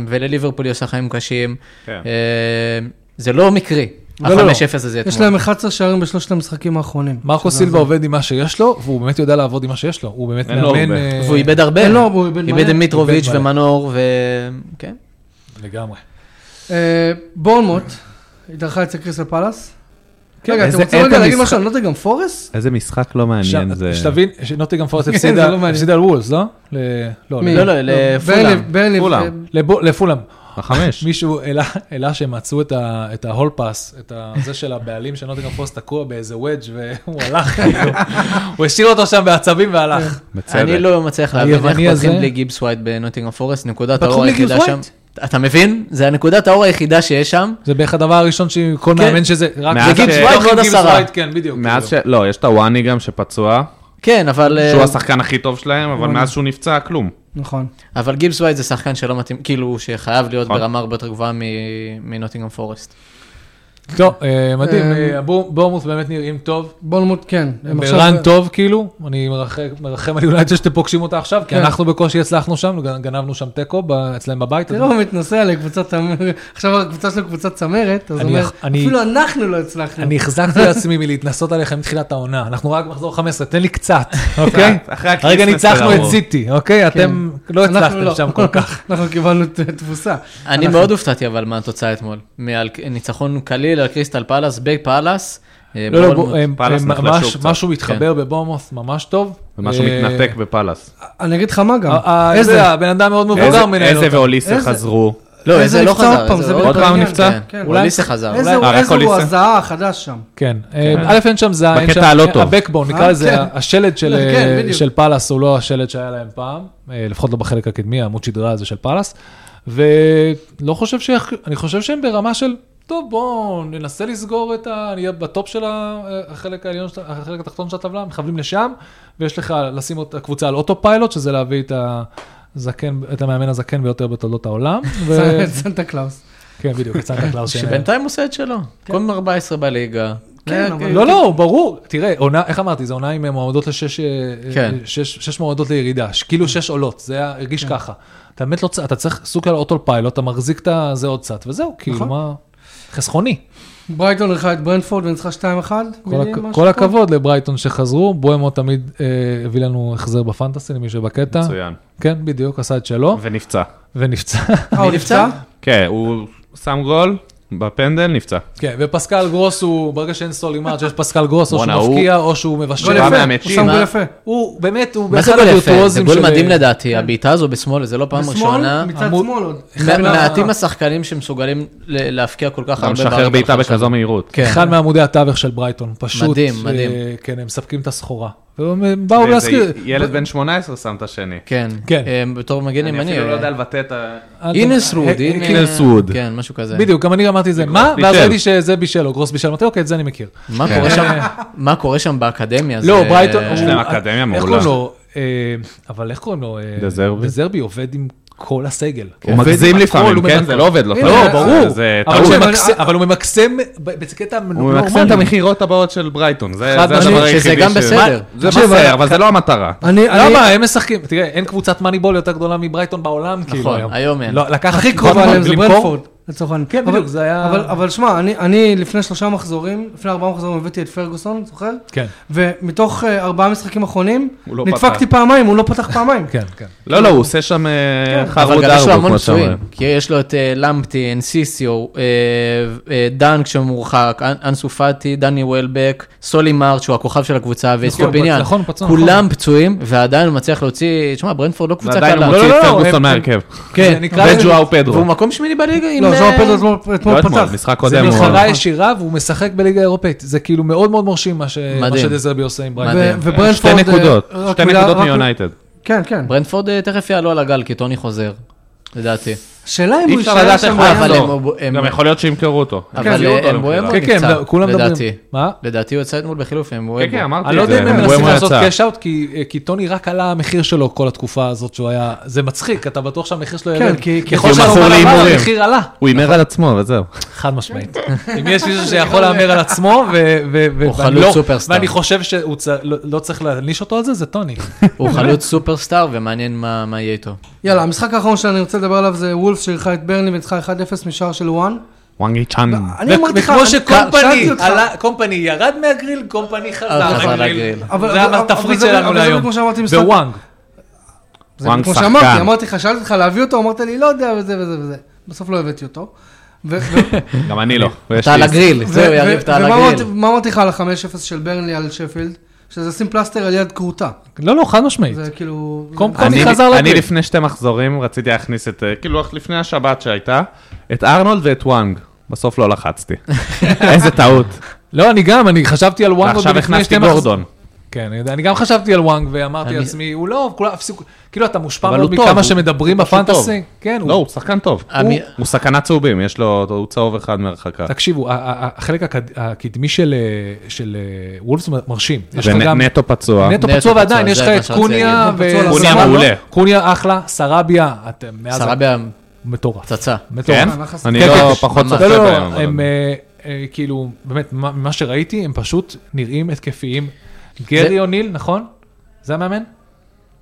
D: ולליברפול היא עושה חיים קשים.
C: כן.
D: אה, זה לא מקרי,
B: לא, לא, לא.
D: ה-5-0 הזה
A: יש
D: אתמול.
A: להם 11 שערים בשלושת המשחקים האחרונים.
B: מרקו
A: שזה-
B: סילבה עובד עם מה שיש לו, והוא באמת יודע לעבוד עם מה שיש לו. הוא באמת
C: אין לו
B: מאמן...
C: הרבה.
B: אה,
D: והוא איבד הרבה,
A: אין לו, הוא איבד
D: איבד
A: מלא.
D: את מיטרוביץ'
B: איבד מלא.
D: ומנור ו... כן.
B: לגמרי.
A: אה, בורנמוט, התארחה אצל קריסל פלאס.
B: כן,
A: רגע, אתם
C: איזה-
A: רוצים
C: איזה
A: רגע להגיד
C: משחק-
A: משהו על נוטיגם פורסט?
C: איזה משחק לא מעניין זה.
B: שתבין, שנוטיגרם פורסט
A: כן, זה
B: הפסידה
A: לא מעניין.
B: הפסידה על וולס, לא? ל- לא,
A: מי?
B: ל-
D: לא, לא, לפולאם.
A: ברנלי- ברנלי-
C: פולאם.
B: לבו- לפולאם.
C: החמש.
B: מישהו העלה- העלה שהם מצאו את ה- את ההול פאס, את ה- זה של הבעלים של נוטיגרם פורסט תקוע באיזה וודג' והוא הלך, כאילו. הוא השאיר אותו שם בעצבים והלך.
A: כן.
D: אני
C: בצדק.
D: לא מצליח להבין
B: היווני
D: איך פותחים
B: הזה-
D: בלי גיבס ווייט בנוטינגרם פורסט, נקודת
B: פתחו
D: האור
B: בלי גיבס
D: היחידה שם.
B: ווייט?
D: אתה מבין? זה הנקודת האור היחידה שיש שם.
B: זה בערך הדבר הראשון שכל
D: כן.
B: מאמן שזה, רק
C: מאז
B: גיבס
C: ש-
B: ווייט
A: לא,
D: ועוד
B: גיבס
D: עשרה.
B: ווייט, כן, בדיוק.
C: מאז ש...
B: כאילו.
C: לא, יש את הוואני גם שפצוע,
D: כן, אבל... אה,
C: שהוא השחקן הכי טוב שלהם, אבל מאז שהוא נפצע, כלום.
A: נכון.
D: אבל גיבס ווייט זה שחקן שלא מתאים, כאילו, שחייב להיות
C: נכון.
D: ברמה הרבה יותר גבוהה מנוטינגרם פורסט.
B: טוב, אה, מדהים,
A: אה,
B: אה, בור- בורמוס באמת נראים טוב.
A: בולמוט, כן. הם
B: הם
A: עכשיו-
B: ברן טוב כאילו, אני מרחם- מרחם על יונייטד שאתם פוגשים אותה עכשיו, כי
A: כן.
B: אנחנו בקושי הצלחנו שם, גנבנו שם תיקו ב- אצלם בבית. אז
A: תראו, הוא מתנשא עלי קבוצת צמרת, עכשיו הקבוצה שלו קבוצת צמרת, אז הוא
B: אני
A: אומר,
B: אח- אני-
A: אפילו אנחנו לא הצלחנו.
B: אני החזקתי לעצמי מלהתנסות עליכם מתחילת העונה, אנחנו רק מחזור 15, תן לי קצת, אוקיי?
C: אחרי
B: הרגע
C: הקריסמס
B: ניצחנו את
C: ברמות.
B: סיטי, אוקיי? אתם לא
A: אנחנו
B: הצלחתם שם כל כך.
A: אנחנו קיבלנו ת- תבוסה.
C: נכון.
D: אני
A: אנחנו-
D: מאוד הופתעתי אבל מהתוצאה אתמול. מניצחון קליל על קריסטל פאלאס, בפאלאס. אה,
B: לא, לא,
D: בורנמוט.
B: בוא, הם-
C: פאלאס
B: הם
C: נחלשו
B: ממש-
C: קצת.
B: משהו מתחבר בבורמוס ממש טוב.
C: ומשהו
B: אה,
C: מתנתק בפאלאס.
A: אני אגיד לך מה גם.
B: אה, אה,
A: איזה?
B: איזה? הבן אדם מאוד מבוגר
C: איזה-
B: מנהל אה.
C: איזה
B: אותו.
C: ואוליסה
A: איזה-
C: חזרו.
D: לא,
A: איזה
D: איזה לא
A: נפצע עוד
D: חזר.
A: פעם, זה
D: איזה
A: בדיוק
C: עוד פעם
A: העניין.
C: נפצע?
A: כן.
D: כן, אוליסה חזר.
A: איזה הוא-
C: אה, רק
A: איזה הוא
C: אוליסה.
A: הזעה החדש שם.
B: כן, אה, א' אין שם זין,
C: בקטע הלא טוב.
B: הבקבון, נקרא
A: אה,
B: לזה,
A: כן.
B: השלד של, אה,
A: כן, בדיוק.
B: של פאלאס הוא לא השלד שהיה להם פעם, אה, לפחות לא בחלק הקדמי, העמוד שדרה הזה של פאלאס, ולא חושב ש... אני חושב שהם ברמה של, טוב, בואו ננסה לסגור את ה... נהיה בטופ של ה- אה, החלק העליון, של- החלק התחתון של הטבלה, מכוונים לשם, ויש לך לשים את הקבוצה על אוטו-פיילוט, שזה להביא את ה... זקן, את המאמן הזקן ביותר בתולדות העולם. ו...
A: סנטה קלאוס.
B: כן, בדיוק, קצת הקלאר
D: שבינתיים עושה את שלו. קודם 14 בליגה.
A: כן,
D: אה,
A: אבל-
B: לא, לא, ברור. תראה, עונה, איך אמרתי, זו עונה עם מועמדות לשש, אה,
D: כן.
B: אה, שש, שש מועמדות לירידה, ש- כאילו שש עולות, זה היה-
A: כן.
B: הרגיש ככה. אתה באמת לא צריך, אתה צריך סוג של אוטו פיילוט, אתה מחזיק את זה עוד קצת, וזהו, כאילו,
A: נכון.
B: מה... חסכוני.
A: ברייטון ערכה את ברנפורד וניצחה 2-1.
B: כל,
A: בלי
B: הכ-
A: משהו
B: כל
A: פה.
B: הכבוד לברייטון שחזרו, בוהמו תמיד אה, הביא לנו החזר בפנטסי, למי שבקטע.
C: מצוין.
B: כן, בדיוק, עשה את שלו,
C: ונפצע.
B: ונפצע.
A: אה, הוא
D: מי נפצע?
A: נפצע?
C: כן, הוא שם גול, בפנדל נפצע.
B: כן, ופסקל גרוס הוא, ברגע שאין סולימארד, שיש פסקל גרוס, או
C: בואנה,
B: שהוא
C: הוא-
B: מבקיע, או שהוא מבשל.
A: גול
C: שבעה
A: יפה, הוא
C: מהמאצ'ים,
A: שם גול
D: אה?
A: יפה.
B: הוא באמת, הוא
D: מה זה
B: באחד
D: גול יפה? אה, זה
B: הווירטואוזים
D: גול
B: לא של-
D: מדהים לדעתי, הבעיטה הזו בשמאל, זה לא פעם ראשונה.
A: בשמאל, מצד כן, לא.
B: אמור-
A: שמאל עוד.
D: מה- מעטים השחקנים שמסוגלים ל- להפקיע כל כך
C: אתה
D: הרבה
C: משחרר
D: בערים
C: בעיטה
D: על חשבון.
C: בכזו מהירות.
D: כן.
B: אחד מעמודי התווך של ברייטון, פשוט.
D: מדהים,
B: אה,
D: מדהים.
B: כן, הם מספקים את הסחורה. והם אה, באו
C: ואיזה
B: להזכיר.
C: ילד בן 18 שם את השני.
D: כן.
B: כן.
D: אה, בתור מגן
C: אני
D: ימני.
C: אפילו לא
D: אה,
C: יודע לבטא את ה...
B: אה,
D: אינס רוד,
B: אה,
D: הנה-
C: אינס רוד.
D: כן, משהו כזה.
B: בדיוק, גם אני אמרתי את זה, מה? ואז
C: בישל.
B: ראיתי שזה בישל, או גרוס בישל, אמרתי, אוקיי, את זה אני מכיר.
D: מה קורה שם- מה קורה שם באקדמיה?
B: לא,
D: זה-
B: ברייטון,
C: יש
B: הוא-
C: להם אקדמיה
B: איך
C: מעולה.
B: קוראים לו? אה, אבל איך קוראים לו? אה,
C: דזרבי.
B: דזרבי עובד עם כל הסגל.
C: הוא
B: עובד
C: מגזים
B: עם הכל,
C: לפעמים,
B: הוא
C: כן?
B: מנקה.
C: זה לא עובד לו.
A: הנה,
C: טוב.
A: זה-
B: לא, ברור,
C: זה
B: אבל
C: טעות.
B: שהוא ממקסם- אבל הוא ממקסם ב- בקטע
C: הוא
B: נורמלי.
C: ממקסם את המכירות הבאות של ברייטון, זה
B: חד
C: זה הדבר
D: משמעית,
C: היחידי
D: שזה גם
C: ש-
D: בסדר.
C: זה
A: תקשיב,
C: בסדר, אבל זה לא המטרה.
A: אני, אני,
B: למה? הם משחקים, תראה, אין קבוצת מאניבול יותר גדולה מברייטון בעולם, כאילו היום.
D: נכון, היום אין.
B: לא, לקחת
A: הכי
B: טיפות
A: קרובה להם זה
B: ולמכור.
A: ברנפורד, לצורך העניין.
B: כן,
A: אבל-
B: בדיוק, זה היה-
A: אבל- אבל שמע, אני- אני לפני שלושה מחזורים, לפני ארבעה מחזורים הבאתי את פרגוסון, זוכר?
B: כן,
A: ומתוך אה, ארבעה משחקים אחרונים,
C: הוא לא
A: נדפקתי פעמיים, הוא לא פתח פעמיים.
B: כן, כן.
C: לא, לא, הוא עושה שם אה,
D: אבל
C: חרוד
D: גם יש
C: ארבו,
D: לו המון
C: כמו שאומרים.
D: פצועים, כי יש לו את אה, למפטי, אנסיסיו, אה, אה, דנק שמורחק, אנ- אנסו פאטי, דני וולבק, סולי מארט שהוא הכוכב של הקבוצה, ואיסטו
B: נכון,
D: בניין,
B: נכון, פצוע,
D: כולם פצועים, ועדיין הוא מצליח להוציא, תשמע, ברנפורד לא קבוצה
C: ועדיין
D: קלה,
C: הוא
B: לא,
C: מוציא
B: לא,
C: את
B: לא,
C: פרגוסון
B: הם-
C: מהרכב.
B: כן, נקרא לזה-
C: וג'ואר פדרו.
D: והוא מקום שמיני בליגה עם...
A: לא,
D: אה,
A: ז'ואר פדרו אתמול-
C: לא
A: אתמול
C: אתמול,
A: פתח.
C: משחק
B: זה
C: קודם. הוא-
B: מלחמה ישירה והוא משחק בליגה האירופאית. זה כאילו מאוד מאוד מרשים מה ש- מה
D: מדהים.
B: שדזרבי עושה עם ברייטון.
A: ו-
D: מדהים.
A: וברנפורד...
C: אה, שתי נקודות,
A: אה, רק
C: שתי
A: מילה-
C: נקודות
A: רק-
C: מיונייטד.
A: כן, כן.
D: ברנפורד אה, תכף יעלו על הגל, כי טוני חוזר, לדעתי.
A: השאלה אם
C: אי
A: הוא
C: אפשר
A: יישאר
C: לדעת איך
A: שם...
C: הוא
A: היה-
D: אבל הם-
C: יחזור.
D: הם-
C: גם יכול להיות שימכרו אותו.
D: אבל
C: יביאו אותו
D: אה,
C: למכירה.
D: אמבואמו
B: כן, כן,
D: נפצע,
B: לא, כולם
D: לדעתי.
B: מדברים. מה?
D: לדעתי הוא יצא אתמול בחילוף עם
C: כן, כן,
D: וולבק.
C: אמרתי
B: אני לא
C: את
B: יודע אם
C: זה,
B: הם מנסים
C: אמבואמו
B: לעשות
C: יצא.
B: קאש אאוט, כי כי טוני רק עלה המחיר שלו כל התקופה הזאת שהוא היה... זה מצחיק, אתה בטוח שהמחיר שלו יעלה.
A: כן, כי- כי
B: ככל
C: הוא מכור
B: שהרומא עלה,
C: להימורים.
B: המחיר עלה.
C: הוא הימר על עצמו וזהו.
B: חד משמעית. אם יש מישהו שיכול להמר על עצמו, ו- ו- ו-
D: הוא
B: ואני
D: חלוץ
B: לא-
D: סופרסטאר.
B: ואני חושב שהוא צ- לא לא צריך להעניש אותו על זה, זה טוני.
D: הוא חלוץ סופרסטאר, ומעניין מה מה יהיה איתו.
A: יאללה, המשחק האחרון שאני רוצה לדבר עליו זה וולף שאירחה את ברני וניצחה 1-0 משער של וואן.
C: וואנגי צ'אן.
A: אני אמרתי לך...
B: וכמו
A: אני-
B: שקומפני,
A: שאלתי אותך-
B: עלה- קומפני ירד מהגריל, קומפני חזר
D: חזר
B: מהגריל.
D: לגריל.
A: אבל-
B: זה
A: אבל- אבל
B: התפריט
A: זה-
B: שלנו
A: אבל זה
B: להיום.
A: כמו שאמרתי, משחק-
B: ווואנג.
A: זה
C: וואן
A: כמו
C: שחקן.
A: שאמרתי, אמרתי לך, שאלתי אותך להביא אותו, אמרת לי לא יודע וזה וזה וזה. בסוף לא הבאתי אותו. ו- ו-
C: גם אני לא. ויש
D: אתה
C: לי-
D: על הגריל,
A: ו-
D: זהו
A: ו-
D: יריב, אתה על
A: ומה אמרתי-
D: הגריל.
A: מה אמרתי לך על ה-5-0 של ברנלי על שפילד? שזה לשים פלסטר על יד כרותה.
B: לא, לא, חד משמעית.
A: זה כאילו...
B: קום-
A: זה-
B: קום.
C: אני,
B: אני חזר
C: אני
B: לגריל.
C: לפני שתי מחזורים רציתי להכניס את, אה, כאילו לפני השבת שהייתה, את ארנולד ואת וואנג. בסוף לא לחצתי. איזה טעות.
B: לא, אני גם, אני חשבתי על וואנג עוד
C: ועכשיו
B: לפני
C: הכנסתי
B: שתי מחזור.
C: גורדון.
B: כן, אני יודע, אני גם חשבתי על וואנג ואמרתי
D: אני-
B: לעצמי, הוא לא, כולם הפסיקו, כאילו אתה מושפע
C: אבל
B: מאוד
C: הוא טוב,
B: מכמה
C: הוא-
B: שמדברים
C: הוא פשוט
B: בפנטסי. כן,
C: לא, הוא שחקן טוב.
D: אני-
C: הוא- הוא סכנה צהובים, יש לו, הוא צהוב אחד מהרחקה.
B: תקשיבו, ה- ה- ה- החלק הקד- הקדמי של, אה, של אה, וולפס מ- מרשים. יש לך גם
C: ונטו פצוע.
B: נטו
D: נטו
B: פצוע ועדיין,
D: פצוע,
B: יש לך
D: זה מה
B: את
D: שרציתי
B: קוניה
A: להגיד.
B: ו...
A: פצוע
C: קוניה
B: סבבה.
C: מעולה.
B: קוניה אחלה, סרביה, אתם מאז...
D: סרביה
B: מטורף.
D: פצצה.
B: מטורף.
C: כן?
A: מה, מה
C: אני
B: כן,
C: לא
B: כן,
C: פחות
D: ממש.
C: צופה
B: לא, לא,
C: בהם.
B: לא,
C: אבל-
B: הם אה, אה, כאילו, באמת, מה- ממה שראיתי, הם פשוט נראים התקפיים.
D: זה-
B: גרי אוניל, נכון? זה המאמן?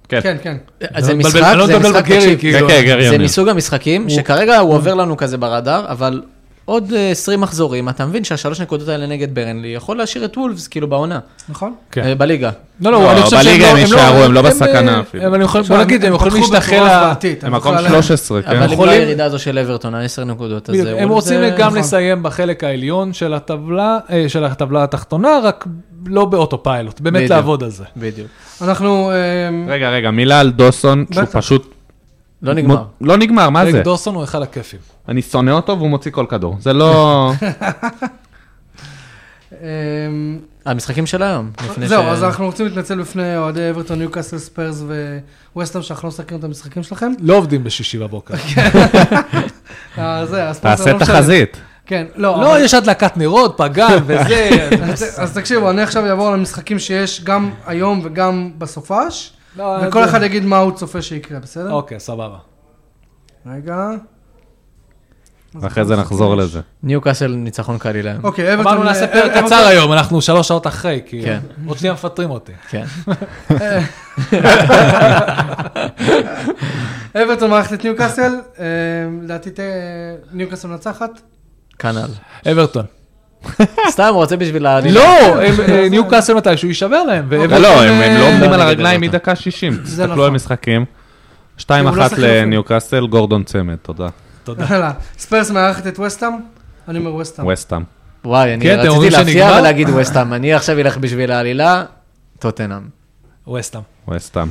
C: כן.
B: אה,
A: כן, כן.
D: זה
B: אני לא
D: משחק,
B: מתבלבל- אני לא
D: זה
B: מתבלבל
D: משחק,
B: בגרי,
D: תקשיב.
B: כאילו.
C: כן, כן, גרי
D: זה
C: יוניל.
D: מסוג המשחקים שכרגע הוא עובר לנו כזה ברדאר, אבל עוד אה, 20 מחזורים, אתה מבין שהשלוש נקודות האלה נגד ברנלי יכול להשאיר את וולפס כאילו בעונה,
A: נכון?
B: כן.
D: אה, בליגה.
B: לא, לא,
C: לא,
B: אני חושב שהם לא...
C: בליגה הם יישארו, הם לא בסכנה
B: אה,
C: אפילו.
B: אבל הם יכולים, בוא
A: עכשיו,
B: נגיד, הם יכולים
A: פתחו
B: להשתחל...
A: בצורה
B: ל-
A: זוועתית,
C: הם
A: אז
C: מקום
A: בכלל-
C: 13, כן.
D: אבל אם לא
B: יכולים-
D: הירידה הזו של אברטון, ה-10 נקודות, אז...
B: בדיוק,
D: אה,
B: הם
D: וולפס
B: רוצים
D: זה-
B: גם
A: נכון.
B: לסיים בחלק העליון של הטבלה, אה, של הטבלה התחתונה, רק לא באוטופיילוט, באמת
D: בדיוק.
B: לעבוד על זה.
D: בדיוק.
A: אנחנו... אמ,
C: רגע, רגע, מילה על דוסון, שהוא
A: בטח.
C: פשוט...
D: לא נגמר.
C: לא נגמר, מה זה?
B: פרק דורסון הוא אחד הכיפים.
C: אני שונא אותו והוא מוציא כל כדור. זה לא...
A: אמ,
D: המשחקים של היום. לפני
A: זהו,
D: ש-
A: אז אנחנו רוצים להתנצל בפני אוהדי אברטון, ניוקאסל, ספיירס וווסטהאם, שאנחנו לא מסקרים את המשחקים שלכם.
B: לא עובדים בשישי בבוקר.
A: אה, זה, הספונסר
C: תעשה
A: לא משלם.
C: תחזית.
A: כן, לא.
B: לא,
A: אבל-
B: יש הדלקת נרות, פגן וזה.
A: אז- אז תקשיבו, אני עכשיו אעבור על המשחקים שיש גם היום וגם בסופש,
B: לא,
A: וכל
B: זה-
A: אחד יגיד מה הוא צופה שיקרה, בסדר?
B: אוקיי, סבבה. אוקיי.
A: רגע.
B: לא
A: לא
C: ואחרי זה נחזור לזה.
D: ניוקאסל ניצחון קל להם.
A: אוקיי, אברטון...
B: אמרנו נעשה פרק
A: אברטון-
B: קצר היום, אנחנו שלוש שעות אחרי, כי
D: כן.
B: עוד שנייה מפטרים אותי.
D: כן.
A: אוקיי, אברטון מערכת את ניוקאסל, אה, לדעתי אה, ניוקאסל מנצחת.
D: כנ"ל.
B: אברטון.
D: סתם, הוא רוצה בשביל ה...
B: לא, ניו קאסל מתישהו יישבר להם. ואברטון,
C: לא, הם
B: אה,
C: הם לא עומדים על
D: נגד
C: הרגליים
D: אברטון.
C: מדקה 60.
A: נכון.
C: תסתכלו על משחקים. 2-1
A: הוא לא שחקן אפילו.
C: לניוקאסל, גורדון צמד, תודה.
B: תודה.
A: יאללה. ספיירס מארחת את וסטאם, אני אומר וסטאם.
C: וסטאם.
D: וואי, אני
B: כן, אתם
D: רציתי
B: אומרים
D: להפריע
B: שנגמר?
D: ולהגיד ווסטאם. אני עכשיו אלך בשביל העלילה, טוטנאם.
B: ווסטאם.
C: וסטאם.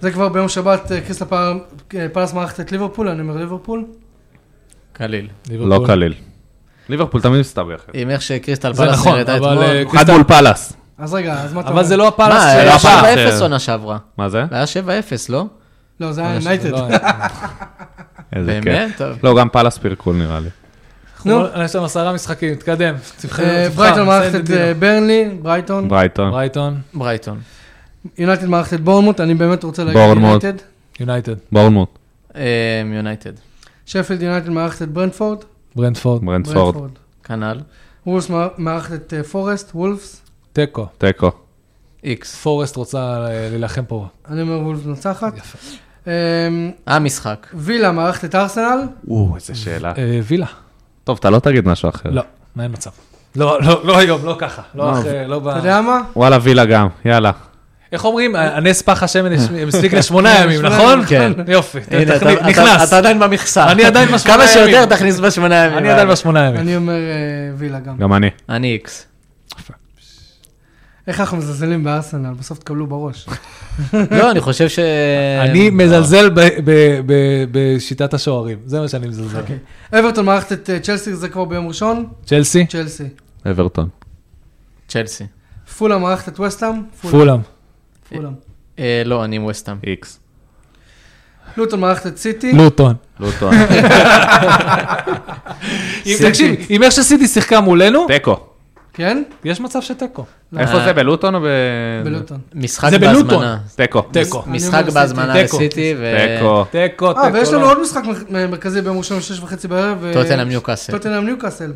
A: זה כבר ביום שבת, אה, קריסטל פל- אה, פלאס מארחת את ליברפול, אני אומר ליברפול.
D: קליל.
C: לא קליל. ליברפול תמיד מסתבכת.
D: עם איך שקריסטל
B: זה
D: פלאס
B: נכון,
D: נראתה
B: אבל...
D: אתמול.
B: אה,
C: אחד מול פאלאס.
A: אז רגע, אז מה אתה אומר?
B: אבל זה לא הפלאס.
D: מה, אה,
B: של-
D: היה
C: הפעם
D: 7-0
C: ש-
D: עונה שעברה.
C: מה זה?
D: היה 7-0, לא?
A: לא, זה היה יונייטד.
B: לא, אה,
C: איזה כיף.
D: באמת? טוב.
C: לא, גם פלאס פירקול נראה לי.
B: נו, יש לנו עשרה משחקים, תתקדם. תבחר,
A: אה,
B: תבחר,
A: ברייטון מערכת
B: נסיים
A: את
B: בדינו.
A: אה, ברנלי, ברייטון.
C: ברייטון.
B: ברייטון,
D: ברייטון.
A: יונייטד מערכת את בורנמוט, אני באמת רוצה להגיד
C: בורנמוט.
A: יונייטד.
B: יונייטד,
C: בורנמוט.
D: אה, יונייטד.
A: שפילד יונייטד מערכת את ברנפורד.
B: ברנדפורד,
C: ברנדפורד.
D: כנ"ל.
A: וולפס מע- מערכת את אה, פורסט, וולפס.
B: תיקו.
C: תיקו.
D: איקס.
B: פורסט רוצה אה, להילחם פה.
A: אני אומר וולפס מנצחת.
B: יפה.
A: אה,
D: המשחק.
A: וילה מערכת את ארסנל.
C: או, איזה שאלה.
B: אה, וילה.
C: טוב, אתה לא תגיד משהו אחר.
B: לא, אין מצב. לא, לא, לא היום, לא ככה. לא אחרי, לא ב...
A: אתה יודע מה?
C: וואלה, וילה גם, יאללה.
B: איך אומרים, הנס פח השמן יש- מספיק לשמונה ימים,
A: שמונה
B: נכון?
A: ימים,
D: כן.
B: יופי, ת-
D: הנה,
B: תכניס-
D: אתה- אתה-
B: נכנס.
D: אתה עדיין במכסה.
B: אני עדיין בשמונה
D: כמה
B: ימים.
D: שיותר תכניס בשמונה ימים.
B: אני עדיין בשמונה ימים.
A: אני אומר אה, וילה גם.
C: גם אני.
D: אני איקס.
A: איך אנחנו מזלזלים בארסנל? בסוף תקבלו בראש.
D: לא, אני חושב ש...
B: אני מזלזל ב- ב- ב- בשיטת השוערים, זה מה שאני מזלזל.
A: אוקיי. אברטון מערכת את אה, צ'לסי, זה כבר ביום ראשון.
B: צ'לסי,
A: צ'לסי.
C: אברטון.
D: צ'לסי.
A: פולה מערכת את וסטאם.
B: פולאם,
A: פולם.
D: אה, לא, אני עם וסטאם.
C: איקס.
A: לוטון מערכת את סיטי.
B: לוטון.
C: לוטון.
B: אם- תקשיב, עם איך שסיטי שיחקה מולנו,
C: תיקו.
A: כן?
B: יש מצב שתיקו.
C: איפה זה, לא. אה. בלוטון או ב...
A: בלוטון.
D: משחק
B: זה בלוטון.
D: בהזמנה.
C: תיקו.
B: תיקו.
D: משחק
A: אני אומר
D: בהזמנה
B: סיטי.
D: לסיטי. ו-
C: תיקו.
B: תיקו, תיקו.
A: אה,
D: אוקיי,
A: ויש לנו
B: לא.
A: עוד משחק מ- מרכזי ביום ראשון בשש וחצי בערב. ו-
D: טוטנהאם ניוקאסל.
A: טוטנאם ניוקאסל.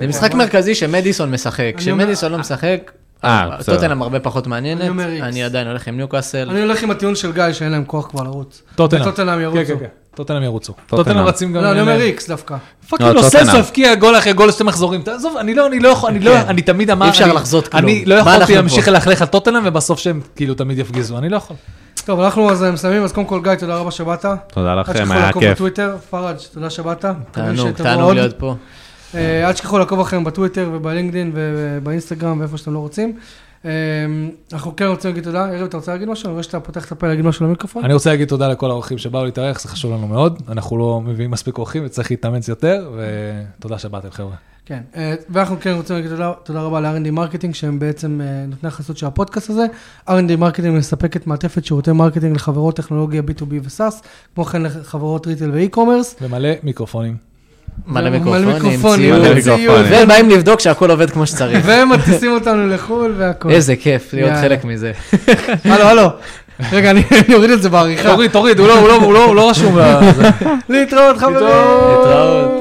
D: זה משחק מרכזי שמדיסון משחק.
A: אני אומר-
D: כשמדיסון לא משחק,
C: אה, בסדר.
D: טוטנאם הרבה פחות
A: אני
D: מעניינת.
A: אומר איקס.
D: אני עדיין הולך עם ניוקאסל.
A: אני הולך עם הטיעון של גיא שאין להם כוח כבר לרוץ.
B: טוטנאם.
A: וטוטנאם ירוצו.
B: כן, כן, כן. טוטנאם ירוצו.
C: טוטנהאם.
B: טוטנאם רצים גם...
A: לא, אני אומר
B: אליהם.
A: איקס דווקא.
B: פאקינג
C: לא,
B: לא,
C: טוטנהאם.
B: סלסו הבקיע גול אחרי גול שתי מחזורים. תעזוב, אני לא, אני לא יכול, אני לא, אני תמיד אמר,
D: כן. אי אפשר
B: אני-
D: לחזות כלום.
B: אני לא
D: מה
B: יכולתי
D: אנחנו
B: להמשיך
D: פה?
B: ללכלך על טוטנאם, ובסוף שהם כאילו תמיד יפגיזו, אני לא יכול.
A: טוב, אנחנו אז אה, מסיימים, אז קודם כל, גיא, תודה רבה שבאת.
C: תודה
A: אל
C: לכם,
A: תשכחו
C: היה
A: לעקוב
C: כיף.
A: בטוויטר, פראג', תודה שבאת. מקווה
D: תענוג,
A: שתבוא
D: תענוג
A: עוד.
D: להיות פה.
A: אה, אל תשכחו לעקוב אחריהם בטוויטר ובלינקדאין ובאינסטגרם ואיפה שאתם לא רוצים. אה, אנחנו כן רוצים להגיד תודה. יריב, אתה רוצה להגיד משהו? אני רואה שאתה פותח את הפה להגיד משהו
D: אוקיי.
A: למיקרופון.
B: אני רוצה להגיד תודה לכל האורחים שבאו להתארח, זה חשוב לנו מאוד. אנחנו לא מביאים מספיק אורחים וצריך להתאמץ יותר, ותודה שבאתם, חבר'ה.
A: כן, אה, ואנחנו כן רוצים להגיד תודה, תודה רבה ל-R&D מרקטינג, שהם בעצם אה, נותני החסות של הפודקאסט הזה. R&D מרקטינג מספקת מעטפת שירותי מרקטינג לחברות טכנולוגיה B2B ו-SAS, כמו כן לחברות ריטל ואי-קומרס.
B: ומלא מיקרופונים.
D: מלא
A: מלא
D: מיקרופונים,
A: מיקרופונים,
D: ציוד.
C: מלא
A: ציוד.
C: מיקרופונים.
D: והם באים לבדוק שהכל עובד כמו שצריך.
A: ומטיסים אותנו לחו"ל והכל.
D: איזה כיף להיות
A: יאללה.
D: חלק מזה.
A: הלו, הלו. רגע, אני אני אוריד את זה בעריכה.
B: תוריד, תוריד, הוא לא- הוא לא- הוא לא- הוא לא רשום. ל- זה.
A: להתראות, חברים.
B: להתראות.